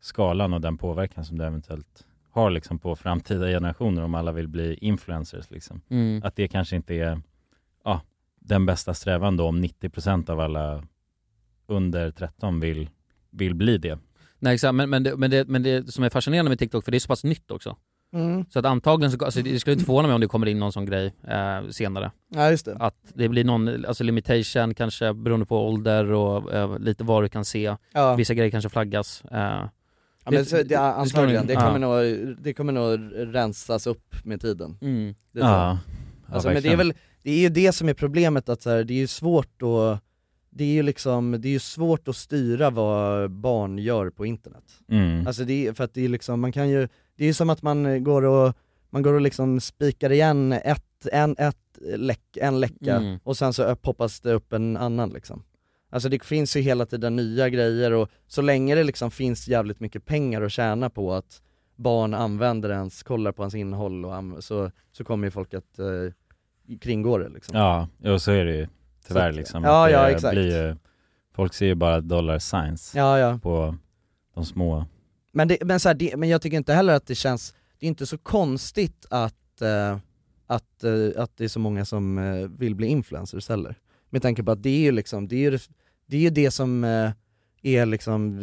B: skalan och den påverkan som det eventuellt har liksom på framtida generationer om alla vill bli influencers liksom.
C: Mm.
B: Att det kanske inte är ja, den bästa strävan då om 90% av alla under 13 vill, vill bli det.
C: Nej exakt, men, men, det, men, det, men det som är fascinerande med TikTok, för det är så pass nytt också.
D: Mm.
C: Så att antagligen, så, alltså, det skulle inte förvåna mig om det kommer in någon sån grej eh, senare.
D: Ja, just det.
C: Att det blir någon, alltså limitation kanske beroende på ålder och eh, lite vad du kan se.
D: Ja.
C: Vissa grejer kanske flaggas. Eh, ja,
D: Ja, men så, det, antagligen, det
C: ja.
D: kommer, nog, det kommer nog rensas upp med tiden.
C: Mm.
D: Det tror jag.
B: Ja. Ja,
D: alltså, men det är,
B: verkligen.
D: väl, det är ju det som är problemet, att så här, det är ju svårt att det är ju liksom, det är ju svårt att styra vad barn gör på internet.
B: Mm.
D: Alltså det är, för att det är liksom, man kan ju, det är ju som att man går och, man går och liksom spikar igen ett, en, ett läck, en läcka
C: Mm.
D: och sen så upp- poppas det upp en annan liksom. Alltså det finns ju hela tiden nya grejer och så länge det liksom finns jävligt mycket pengar att tjäna på att barn använder ens, kollar på ens innehåll och anv- så, så kommer ju folk att eh, kringgå det liksom.
B: Ja, och så är det ju tyvärr
D: Så-
B: liksom.
D: Ja,
B: Att det
D: ja, exakt.
B: Blir ju, folk ser ju bara dollar signs
D: Ja, ja.
B: på de små.
D: Men, det, men, så här, det, men jag tycker inte heller att det känns, det är inte så konstigt att, eh, att, eh, att det är så många som eh, vill bli influencers heller. Med tanke på att det är ju liksom, det är ju det, det, är ju det som eh, är liksom...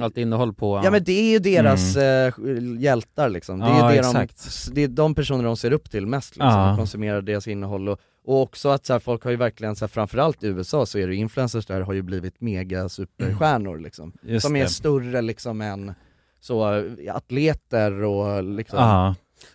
C: Allt innehåll på...
D: Ja men det är ju deras eh, hjältar liksom. Det är
C: Ja,
D: ju det,
C: exakt.
D: de, det är de personer de ser upp till mest liksom,
B: Ja.
D: och konsumerar deras innehåll och, och också att så här, folk har ju verkligen, så här, framförallt i USA så är det ju influencers där har ju blivit mega superstjärnor liksom.
B: Just
D: som är
B: det.
D: större liksom än så eh, atleter och liksom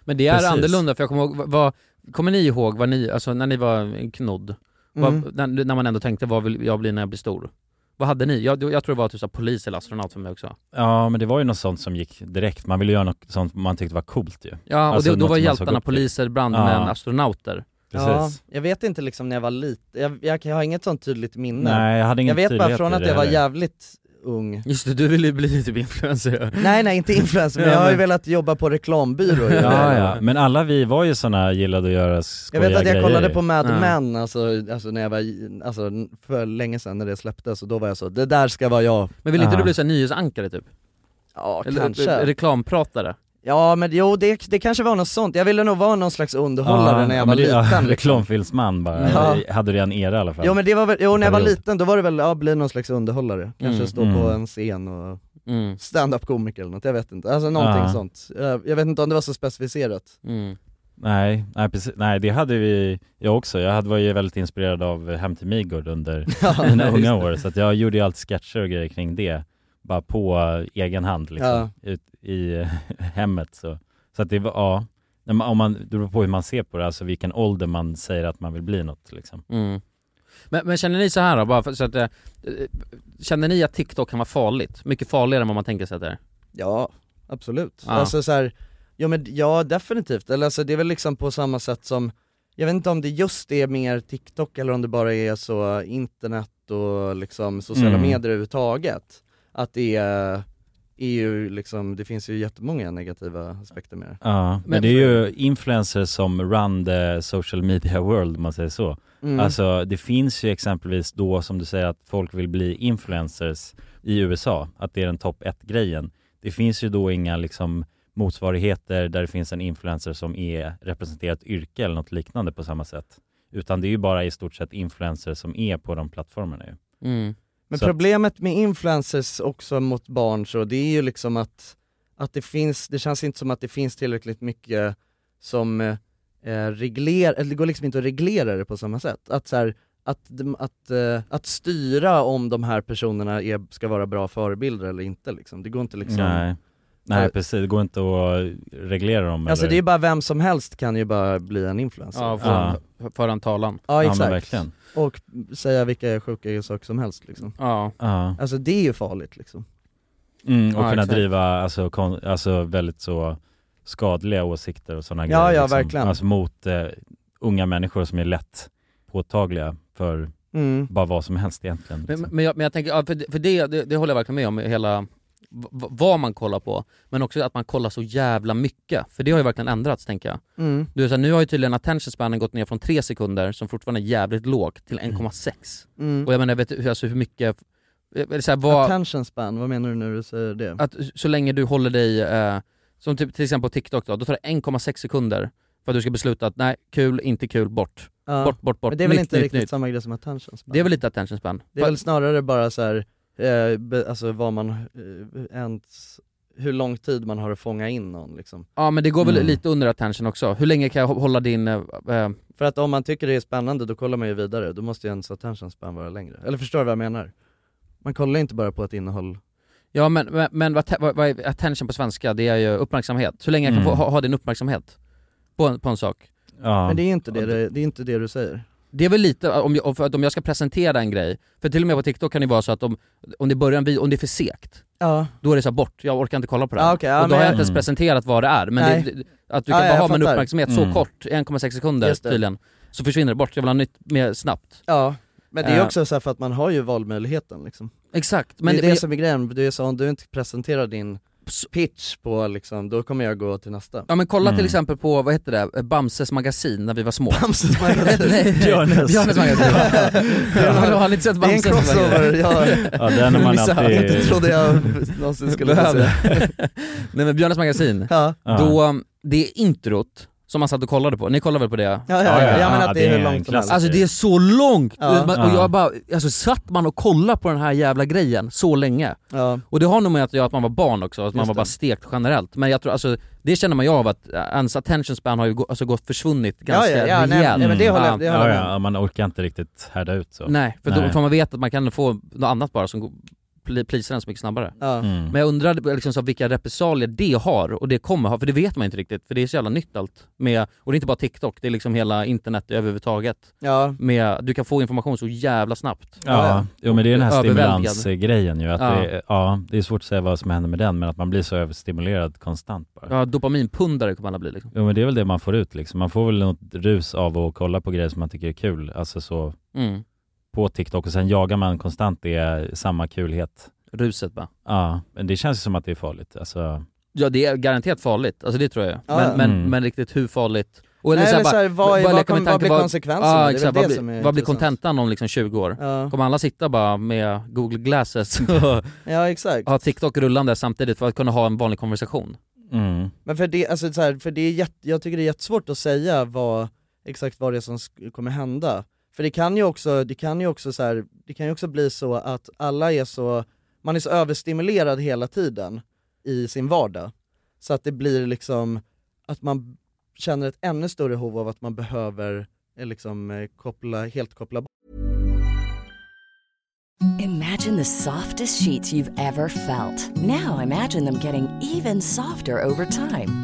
C: Men det är
D: Precis.
C: annorlunda, för jag kommer ihåg, vad- vad, kommer ni ihåg vad ni, alltså när ni var knodd?
D: Mm.
C: Vad, när, när man ändå tänkte, vad vill jag bli när jag blir stor? Vad hade ni? Jag, jag tror det var typ så här polis eller astronaut för mig också.
B: Ja, men det var ju något sånt som gick direkt. Man ville göra något sånt man tyckte var coolt ju.
C: Ja, och
B: Alltså
C: det, då
B: något
C: var
B: som man såg
C: hjältarna
B: upp till.
C: poliser, brandmän,
B: Ja.
C: astronauter.
D: Ja, jag vet inte liksom när jag var liten, jag, jag, jag har inget sånt tydligt minne.
B: Nej, jag hade ingen
D: vet bara
B: tydlighet
D: från
B: i
D: att
B: det
D: Mm. jag var
B: heller.
D: jävligt ung.
C: Just det, du ville ju bli typ influencer.
D: Nej nej, inte influencer, men
C: Ja,
D: jag har ju
C: men-
D: velat jobba på reklambyrå ju.
B: Ja, ja, men alla vi var ju såna, gillade att göra
D: Jag
B: skojiga
D: vet att jag
B: grejer.
D: kollade på Mad
B: Ja.
D: Men alltså, alltså när jag var, i- alltså för länge sedan när det släpptes och då var jag så, det där ska vara jag.
C: Men vill inte du bli så här nyhetsankare typ?
D: Ja,
C: eller,
D: kanske.
C: re- Reklampratare?
D: Ja men jo det, det kanske var något sånt, jag ville nog vara någon slags underhållare när jag var
B: men det-
D: liten. liksom.
B: Reklamfilmsman bara,
D: Ja.
B: hade det en era i alla fall.
D: Jo men det var väl, jo när jag var
B: Period.
D: liten då var det väl, ja bli någon slags underhållare, kanske
B: Mm,
D: stå
B: mm.
D: på en scen och
C: Mm.
D: stand-up komiker eller något, jag vet inte, alltså någonting
B: Ja.
D: sånt. Jag, jag vet inte om det var så specificerat.
C: mm,
B: Nej, nej, precis. nej det hade vi, jag också. Jag hade, var ju väldigt inspirerad av eh, Hem till Midgård under
D: Ja,
B: mina
D: just
B: unga
D: det.
B: år, så att jag gjorde ju alltid sketcher och grejer kring det, bara på eh, egen hand liksom, ut, i eh, hemmet. Så, så att det var, ja, När man- om man, det beror på hur man ser på det, alltså vilken ålder man säger att man vill bli något liksom.
C: Mm. Men, men känner ni så här då, bara för, så att, eh, eh, känner ni att TikTok kan vara farligt? Mycket farligare än vad man tänker sig att det är?
D: Ja, absolut.
C: Ja.
D: Alltså så här, ja men ja definitivt, eller alltså det är väl liksom på samma sätt som, jag vet inte om det just är mer TikTok eller om det bara är så internet och liksom sociala
B: Mm.
D: medier överhuvudtaget. Att det är, är ju liksom, det finns ju jättemånga negativa aspekter med det.
B: Ja, men,
D: Men-
B: det är ju influencers som run the social media world om man säger så.
D: Mm.
B: Alltså det finns ju exempelvis då som du säger att folk vill bli influencers i USA, att det är den topp 1-grejen. Det finns ju då inga liksom motsvarigheter där det finns en influencer som är representerat yrke eller något liknande på samma sätt. Utan det är ju bara i stort sett influencers som är på de plattformarna ju.
D: Men
B: Så att-
D: problemet med influencers också mot barn så, det är ju liksom att, att det finns, det känns inte som att det finns tillräckligt mycket som eh, reglerar, eller det går liksom inte att reglera det på samma sätt. Att så här, att, de- att, eh, att styra om de här personerna är, ska vara bra förebilder eller inte liksom. Det går inte liksom
B: Nej. Nej precis, det går inte att reglera dem
D: Alltså
B: eller...
D: det är bara vem som helst kan ju bara bli en influencer.
C: Ja, för,
B: Ja.
C: för en talan.
D: Ja
B: men
D: exakt.
B: verkligen.
D: Och säga vilka sjuka saker som helst liksom.
C: Ja.
B: Ja.
D: Alltså det är ju farligt liksom.
B: Mm, och
D: Ja,
B: kunna
D: exakt.
B: driva alltså, kon, alltså väldigt så skadliga åsikter och sådana
D: Ja,
B: grejer.
D: ja, verkligen.
B: Alltså mot eh, unga människor som är lätt påtagliga för
D: Mm.
B: bara vad som helst egentligen.
C: Men,
B: Liksom.
C: men, jag, men jag tänker, ja, för, det- för det, det, det håller jag verkligen med om, hela v- v- vad man kollar på, men också att man kollar så jävla mycket. För det har ju verkligen ändrats tänker jag.
D: Mm.
C: Du, är så här, nu har ju tydligen attention spanen gått ner från 3 sekunder, som fortfarande är jävligt lågt, till 1,6.
D: Mm.
C: Och jag menar, jag vet du hur- alltså, hur mycket... eh, Eller så här, vad,
D: Attention span, vad menar du när du säger det?
C: att så länge du håller dig, eh, som typ, till exempel på TikTok då, då tar det 1,6 sekunder för att du ska besluta att nej, kul, inte kul, bort.
D: Ja.
C: Bort, bort, bort.
D: Men det är väl
C: nytt,
D: inte
C: nytt,
D: riktigt
C: nytt.
D: samma grej som attention span?
C: Det är väl lite attention span?
D: Det är väl snarare bara så här, eh, be, alltså vad man, eh, ens, hur lång tid man har att fånga in någon liksom.
C: Ja men det går väl
D: Mm.
C: lite under attention också. Hur länge kan jag hå- hålla din... eh, eh,
D: För att om man tycker det är spännande då kollar man ju vidare, då måste ju ens attention span vara längre. Eller förstår du vad jag menar? Man kollar inte bara på ett innehåll.
C: ja men, men, men vad, te- vad, vad är attention på svenska? Det är ju uppmärksamhet. Hur länge jag kan
D: Mm.
C: få, ha, ha din uppmärksamhet på en, på en sak.
B: Ja.
D: Men det är ju inte det, det, det är inte det du säger.
C: Det är väl lite, eh, om jag, för att om jag ska presentera en grej, för till och med på TikTok kan det vara så att om, om det börjar en video, om det är för segt,
D: Ja.
C: då är det så här, bort, jag orkar inte kolla på det här.
D: Ja, okej, ja,
C: och då
D: men
C: har jag
D: jag-
C: inte ens
D: Mm.
C: presenterat vad det är, men det,
D: Nej.
C: att du
D: Ja,
C: kan
D: ja,
C: bara ha
D: jag
C: min
D: fattar.
C: uppmärksamhet så
D: Mm.
C: kort, 1,6 sekunder
D: Just det.
C: tydligen, så försvinner det bort, jag vill ha nytt mer snabbt.
D: Ja. Men det är
C: Eh.
D: också så här för att man har ju valmöjligheten liksom.
C: Exakt.
D: Men
C: men-
D: det är det
C: men-
D: som är grejen, du är så, om du inte presenterar din pitch på liksom, då kommer jag gå till nästa.
C: Ja men kolla
D: Mm.
C: till exempel på, vad heter det, eh, Bamses magasin när vi var små.
D: Bamses magasin?
C: Nej,
D: Björnes.
C: Björnes. Björnes magasin.
D: Ja.
C: Har du- Har ni inte sett
D: Det är en
C: Bamses magasin?
D: crossover, ja. Ja, den har man
C: Missade.
D: alltid- Inte trodde jag någonsin skulle få se.
C: Nej men Björnes magasin,
D: Ja.
C: då, det är introt Som man satt och kollade på, ni kollade väl på det? Ja,
D: ja, ja. Ja, Jag menar att det är det är hur långt en som helst.
J: Alltså det är så långt!
C: Ja.
J: Och
C: Ja.
J: jag bara, alltså satt man och kollade på den här jävla grejen så länge?
C: Och det har nog med att göra att man var barn också, att man
J: Just
C: var
J: det.
C: bara stekt generellt. Men jag tror alltså, det känner man ju av att eh, ens attention span har ju gå, alltså gått försvunnit ganska rejält.
B: Mm. ja, ja, man orkar inte riktigt härda ut så.
C: Nej, för, Då, för man vet att man kan få något annat bara som går- pli- pleasar en så mycket snabbare.
B: Ja. Mm.
C: Men jag undrar liksom så här, vilka repressalier det har och det kommer ha, för det vet man inte riktigt, för det är så jävla nytt allt. Med, och det är inte bara TikTok, det är liksom hela internet överhuvudtaget.
D: Ja.
C: Med, du kan få information så jävla snabbt.
B: Ja, jo, men det är den här
C: Och överväldigad.
B: stimulansgrejen ju. Att
C: Ja.
B: Det, är- ja, det är svårt att säga vad som händer med den, men att man blir så överstimulerad konstant bara.
C: Ja, dopaminpundare kommer alla bli liksom.
B: Jo men det är väl det man får ut liksom. Man får väl något rus av att kolla på grejer som man tycker är kul, alltså så
C: Mm.
B: på TikTok och sen jagar man konstant det, samma kulhet.
C: Ruset bara.
B: Ja, men det känns ju som att det är farligt. Alltså,
C: Ja det är garanterat farligt, alltså det tror jag.
B: Ja,
C: men,
B: ja.
C: men,
B: Mm.
C: men riktigt hur farligt?
D: Nej,
C: så här
D: eller så här, vad
C: bara
D: är- vad
C: leka med
D: kommer- vad
C: tanken,
D: blir konsekvenserna? Det är
C: Ja,
D: väl
C: exakt,
D: det
C: vad,
D: som är
C: blir, vad blir
D: intressant.
C: kontentan om liksom 20 år?
D: Ja.
C: Kommer alla sitta bara med Google Glasses och
D: Ja, exakt.
C: ha TikTok rullande samtidigt för att kunna ha en vanlig konversation?
B: mm.
D: Men för det, alltså, så här, för det är jätte, jag tycker det är jättesvårt att säga vad, exakt vad det är som sk- kommer hända. För det kan ju också, det kan ju också så här, det kan ju också bli så att alla är så, man är så överstimulerad hela tiden i sin vardag. Så att det blir liksom, att man känner ett ännu större behov av att man behöver eh, liksom eh, koppla, helt koppla bort.
K: Imagine the softest sheets you've ever felt. Now imagine them getting even softer over time.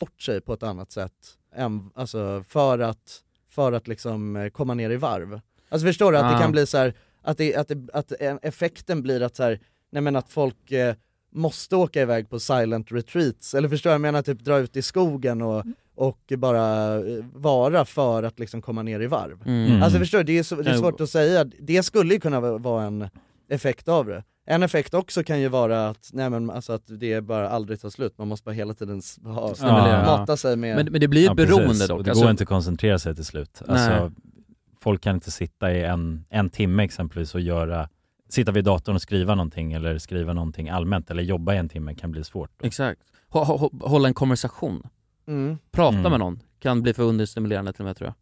D: bort sig på ett annat sätt än, alltså för att, för att liksom eh, komma ner i varv. Alltså förstår du att
F: Ah.
D: det kan bli så här, att, det, att, det, att en- effekten blir att så här, nej men att folk eh, måste åka iväg på silent retreats, eller förstår du? jag menar typ dra ut i skogen och, och bara eh, vara för att liksom komma ner i varv.
F: Mm.
D: Alltså förstår du, det är, så, det är
C: Eh,
F: Mm.
D: svårt att säga, det skulle ju kunna va- vara en effekt av det. En effekt också kan ju vara att, nej men alltså att det bara aldrig tar slut, man måste bara hela tiden s- ha,
B: Stimulera.
D: mata sig med...
C: Men- men det blir ju ett
B: precis.
C: beroende dock,
B: Och Det
C: alltså-
B: går inte att koncentrera sig till slut.
C: Nej.
B: Alltså, folk kan inte sitta i en, en timme exempelvis och göra, sitta vid datorn och skriva någonting eller skriva någonting allmänt eller jobba i en timme kan bli svårt.
C: Exakt. Hå- hå- hå- Hålla en konversation.
D: Mm.
C: Prata
B: Mm.
C: med någon kan bli för understimulerande till och med tror jag.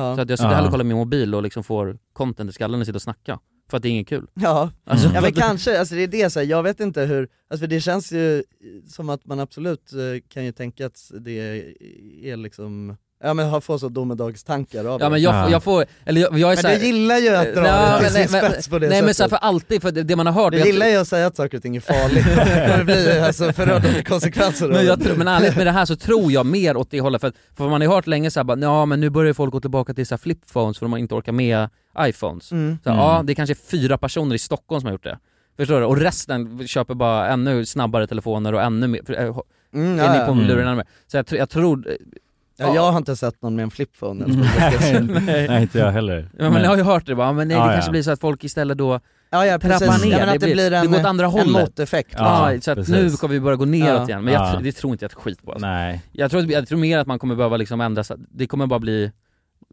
D: Ja.
C: Så att jag sitter
D: Ja.
C: hellre och kollar min mobil och liksom får content i skallen och sitter och snacka. För att det är inget kul.
D: Ja,
C: Alltså,
D: ja
C: för
D: men
C: att-
D: kanske, alltså det är det så här, jag vet inte hur, alltså för det känns ju som att man absolut eh, kan ju tänka att det är liksom, ja men ha- få så domedagstankar av
C: Ja
D: det.
C: men jag, jag får, eller jag, jag är
D: Men
C: så här, Eh,
D: du gillar ju att dra det till sin spets på det
C: Nej men
D: sättet.
C: så här för alltid, för det, det man har hört
D: Du gillar ju att säga att saker och ting är farligt, det kommer bli alltså förödande konsekvenser av
C: men, jag
D: det.
C: tror, men ärligt med det här så tror jag mer åt det hållet, för, att, för man har ju hört länge såhär bara, ja men nu börjar ju folk gå tillbaka till så här flipphones för de inte orkar med iPhones.
D: Mm.
C: Så här,
D: Mm.
C: Ja, det är kanske fyra personer i Stockholm som har gjort det. Förstår du? Och resten köper bara ännu snabbare telefoner och ännu mer, för, eh, ho-
D: Mm, ja,
C: är
D: ja.
C: ni på
D: Mm.
C: luren ännu mer? Så jag, tr- jag tror... eh,
D: Ja, jag har inte sett någon med en flipphone eller
C: Nej.
B: Nej, inte jag heller.
C: Ja, men
B: Men-
C: jag har ju hört det bara, "Ah, men nej, det
B: Mm. Ja,
C: kanske
B: ja.
C: blir så att folk istället då
D: Ja, ja,
C: trappar
D: precis.
C: ner,
D: Ja, men att det blir en-
C: går åt andra
D: en
C: hållet.
D: måtteffekt,
C: Ja,
D: liksom.
C: ah, så att
D: Precis.
C: nu kommer vi börja gå neråt
D: Ja.
C: igen, men jag,
D: Ja.
C: tr- det tror inte jag ett skit på alltså.
B: Nej.
C: Jag tror, jag tror mer att man kommer behöva liksom ändra, sig. det kommer bara bli,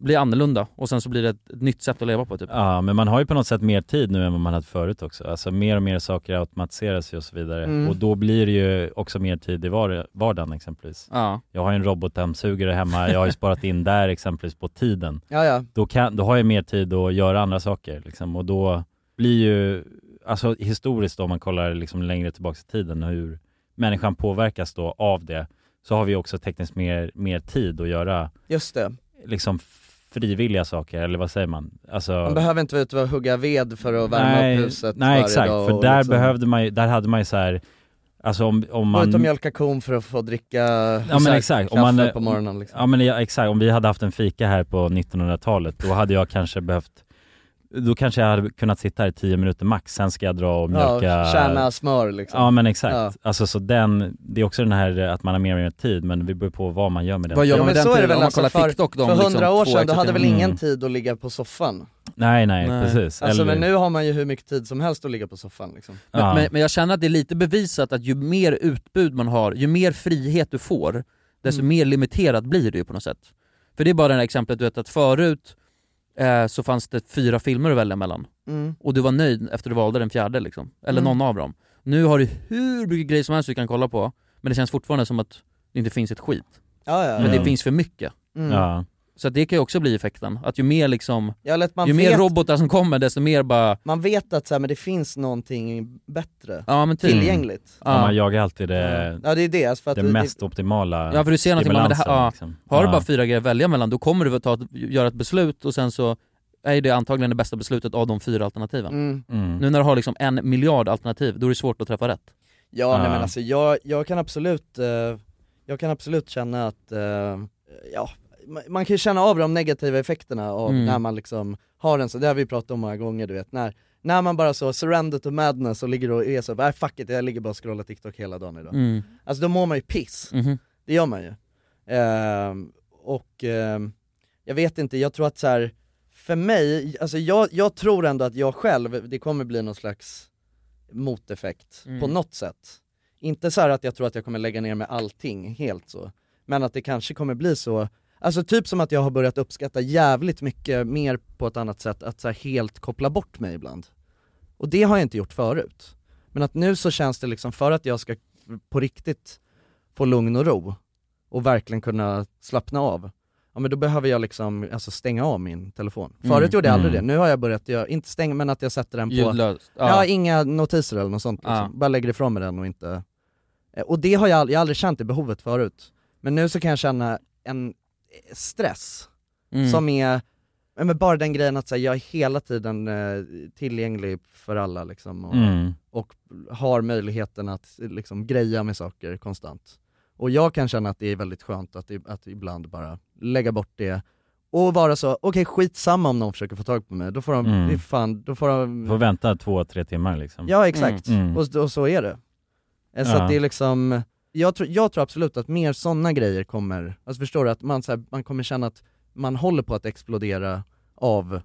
C: bli annorlunda och sen så blir det ett, ett nytt sätt att leva på typ.
B: Ja, men man har ju på något sätt mer tid nu än vad man hade förut också. Alltså mer och mer saker automatiseras ju och så vidare.
C: Mm.
B: Och då blir det ju också mer tid i var- vardagen exempelvis.
C: Ja.
B: Jag har ju en robotdammsugare hemma, jag har ju sparat in där exempelvis på tiden.
D: Ja, ja.
B: Då, kan, då har jag mer tid att göra andra saker liksom. och då blir ju, alltså historiskt då, om man kollar liksom längre tillbaka i tiden hur människan påverkas då av det, så har vi också tekniskt mer, mer tid att göra
D: Just det.
B: liksom frivilliga saker, eller vad säger man? Alltså,
D: Man behöver inte vara ute och hugga ved för att värma upp huset
B: Nej
D: varje
B: exakt,
D: dag
B: för
D: och
B: där
D: liksom-
B: behövde man ju, där hade man ju så här, alltså om, om
D: Gå ut och
B: man...
D: mjölka kon för att få dricka
B: Ja men exakt, om
D: kaffe
B: man,
D: på morgonen liksom.
B: ja, men ja, exakt, om vi hade haft en fika här på 1900-talet då hade jag kanske behövt då kanske jag hade kunnat sitta här i 10 minuter max, sen ska jag dra och
D: Ja,
B: mjölka...
D: tjäna smör, liksom.
B: Ja men exakt.
D: Ja.
B: Alltså så den, det är också den här eh, att man har mer och mer tid men det beror på vad man gör med den
C: Vad gör
B: tiden.
C: man med
D: Men så är det väl alltså för, för
C: liksom
D: hundra år sedan, då hade väl
B: liksom, Mm.
D: ingen tid att ligga på soffan?
B: Nej, nej, precis.
D: Alltså
B: Eller-
D: men nu har man ju hur mycket tid som helst att ligga på soffan liksom.
C: Men, men, men jag känner att det är lite bevisat att ju mer utbud man har, ju mer frihet du får, desto
D: Mm.
C: mer limiterat blir det ju på något sätt. För det är bara det här exemplet du vet att förut eh, så fanns det fyra filmer att välja mellan.
D: Mm.
C: Och du var nöjd efter du valde den fjärde liksom, eller
D: Mm.
C: någon av dem. Nu har du hur mycket grejer som helst du kan kolla på, men det känns fortfarande som att det inte finns ett skit.
D: Ja, ja,
C: men
D: ja.
C: det finns för mycket.
D: Mm. Ja.
C: Så att det kan ju också bli effekten, att ju mer liksom,
D: Ja, eller att man
C: ju mer
D: vet-
C: robotar som kommer desto mer bara
D: Man vet att så här, men det finns någonting bättre,
C: Ja, men typ. Eh,
D: tillgängligt.
B: Ja. man jagar alltid det,
D: Ja, det är det, alltså för att
B: det
D: det-
B: mest optimala
C: Ja för du ser någonting, bara, men det här,
B: stimulansen,
C: ja,
B: liksom.
C: har du
B: Ja.
C: bara fyra grejer att välja mellan då kommer du att ta, ett- göra ett beslut och sen så är det antagligen det bästa beslutet av de fyra alternativen.
D: Mm.
B: Mm.
C: Nu när du har liksom en miljard alternativ, då är det svårt att träffa rätt.
D: Ja, nej
C: Ja.
D: men alltså jag, jag kan absolut, eh, jag kan absolut känna att, eh, ja, ma- man kan ju känna av de negativa effekterna av
C: Mm.
D: när man liksom har en så, det har vi pratat om många gånger du vet, när, när man bara så surrender to madness och ligger och är så, nej fuck it, jag ligger bara och scrollar TikTok hela dagen idag.
C: Mm.
D: Alltså då mår man ju piss,
C: Mhm.
D: det gör man ju. Ehm, och ehm, jag vet inte, jag tror att så här, för mig, alltså jag, jag tror ändå att jag själv, det kommer bli någon slags moteffekt
F: Mm.
D: på något sätt. Inte så här att jag tror att jag kommer lägga ner med allting helt så, men att det kanske kommer bli så, alltså typ som att jag har börjat uppskatta jävligt mycket mer på ett annat sätt, att så här helt koppla bort mig ibland. Och det har jag inte gjort förut. Men att nu så känns det liksom, för att jag ska på riktigt få lugn och ro och verkligen kunna slappna av, ja men då behöver jag liksom alltså stänga av min telefon.
C: Mm.
D: Förut gjorde jag aldrig
C: Mm.
D: det, nu har jag börjat, göra, inte stänga men att jag sätter den på...
C: Ljudlöst, ja.
D: Ja. inga notiser eller något sånt liksom.
C: Ja.
D: Bara lägger ifrån mig den och inte... Eh, Och det har jag, ald- jag har aldrig känt det behovet förut. Men nu så kan jag känna en eh, stress
C: Mm.
D: som är, ja, men bara den grejen att så här, jag är hela tiden eh, tillgänglig för alla liksom och,
B: Mm.
D: och har möjligheten att eh, liksom greja med saker konstant. Och jag kan känna att det är väldigt skönt att, i- att ibland bara lägga bort det och vara så, okej skitsamma om någon försöker få tag på mig, då får de,
B: Mm.
D: det är fan, då får de
B: Får vänta två, tre timmar liksom.
D: Ja exakt,
B: Mm.
D: Och, och så är det. Eh, Så
B: Ja.
D: att det är liksom, jag, tror- jag tror absolut att mer sådana grejer kommer, alltså förstår du, att man, så här, man kommer känna att man håller på att explodera av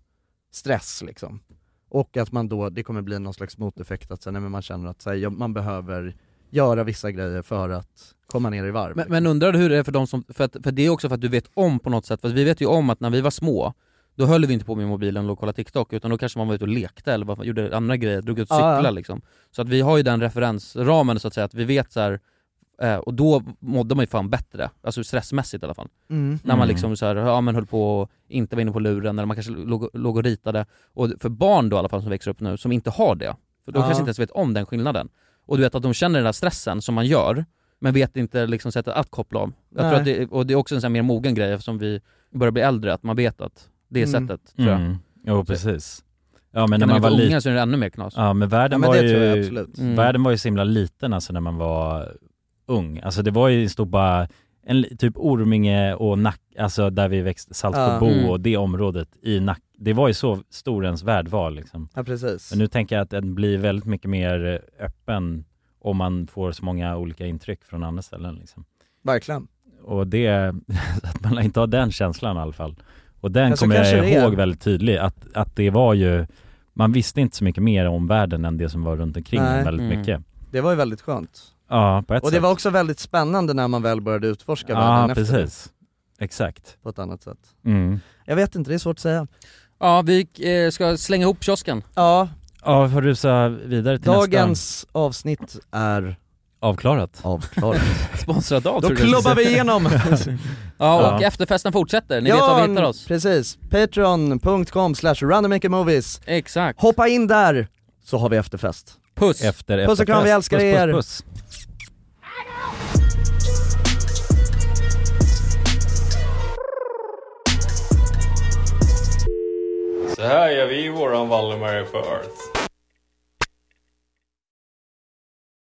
D: stress liksom. Och att man då, det kommer bli någon slags moteffekt att så här, nej, men man känner att så här, ja, man behöver göra vissa grejer för att komma ner i varv. liksom.
C: Men, men undrar du hur det är för de som, för, att, för det är också för att du vet om på något sätt, för att vi vet ju om att när vi var små, då höll vi inte på med mobilen och kollade TikTok, utan då kanske man var ute och lekte eller vad, gjorde andra grejer, drog ut och
D: Ja, ja.
C: cyklade liksom. Så att vi har ju den referensramen så att säga, att vi vet så här, eh, och då mådde man ju fan bättre, alltså stressmässigt i alla fall.
D: Mm.
C: När
D: Mm.
C: man liksom så här, ja, men höll på och inte var inne på luren, eller man kanske låg, låg och ritade. Och för barn då i alla fall som växer upp nu, som inte har det, för de
D: Ja.
C: kanske inte ens vet om den skillnaden. Och du vet att de känner den där stressen som man gör, men vet inte liksom sättet att koppla om. Jag
D: Nej.
C: tror att det, och det är också en sån här mer mogen grej eftersom vi börjar bli äldre, att man vet att det är
B: Mm.
C: sättet tror jag.
B: Mm.
C: Typ.
B: Jo, precis. Ja,
C: Men
B: men när
C: när
B: man
C: vi
B: var
C: var unga
B: liten
C: så är det ännu mer knas.
B: Ja, men världen,
C: Ja, men
B: var,
C: det tror jag
B: ju,
C: absolut. Mm.
B: världen var ju så himla liten alltså när man var ung. Alltså det var ju stod bara en, li- typ Orminge och Nack, alltså där vi växte, Saltsjöbo
C: Ja. Mm.
B: och det området i Nack, Det var ju så stor ens värld var liksom.
D: Ja, precis.
B: Men nu tänker jag att den blir väldigt mycket mer eh, öppen om man får så många olika intryck från andra ställen liksom.
D: Verkligen.
B: Och det, att man lär inte ha den känslan i alla fall. Och den
D: Ja, så
B: kommer
D: kanske
B: jag
D: det är.
B: ihåg väldigt tydligt, att, att det var ju, man visste inte så mycket mer om världen än det som var runt omkring en
D: Nej.
B: väldigt
D: Mm.
B: mycket.
D: Det var ju väldigt skönt.
B: Ja, på ett
D: och det
B: sätt.
D: var också väldigt spännande när man väl började utforska
B: Ja,
D: världen efter det.
B: precis. Exakt.
D: På ett annat sätt.
B: Mm.
D: Jag vet inte, det är svårt att säga.
C: Ja, vi eh, ska slänga ihop kiosken.
D: Ja.
B: Ja, vi får rusa vidare till nästa.
D: Dagens avsnitt är
B: Avklarat.
D: Avklarat.
C: Sponsrad av
D: Då
C: tror jag du skulle
D: klubbar vi
C: säga.
D: igenom.
C: Ja, och efterfesten fortsätter. Ni vet var vi hittar oss.
D: precis. Patreon.com slash randommakermovies.
C: Exakt.
D: Hoppa in där, så har vi efterfest.
C: Puss!
B: Efter
D: Puss och kram, vi
B: efterfest.
D: älskar
B: Puss, puss, puss.
D: er.
E: Så här gör vi våran Valdemar för Earth.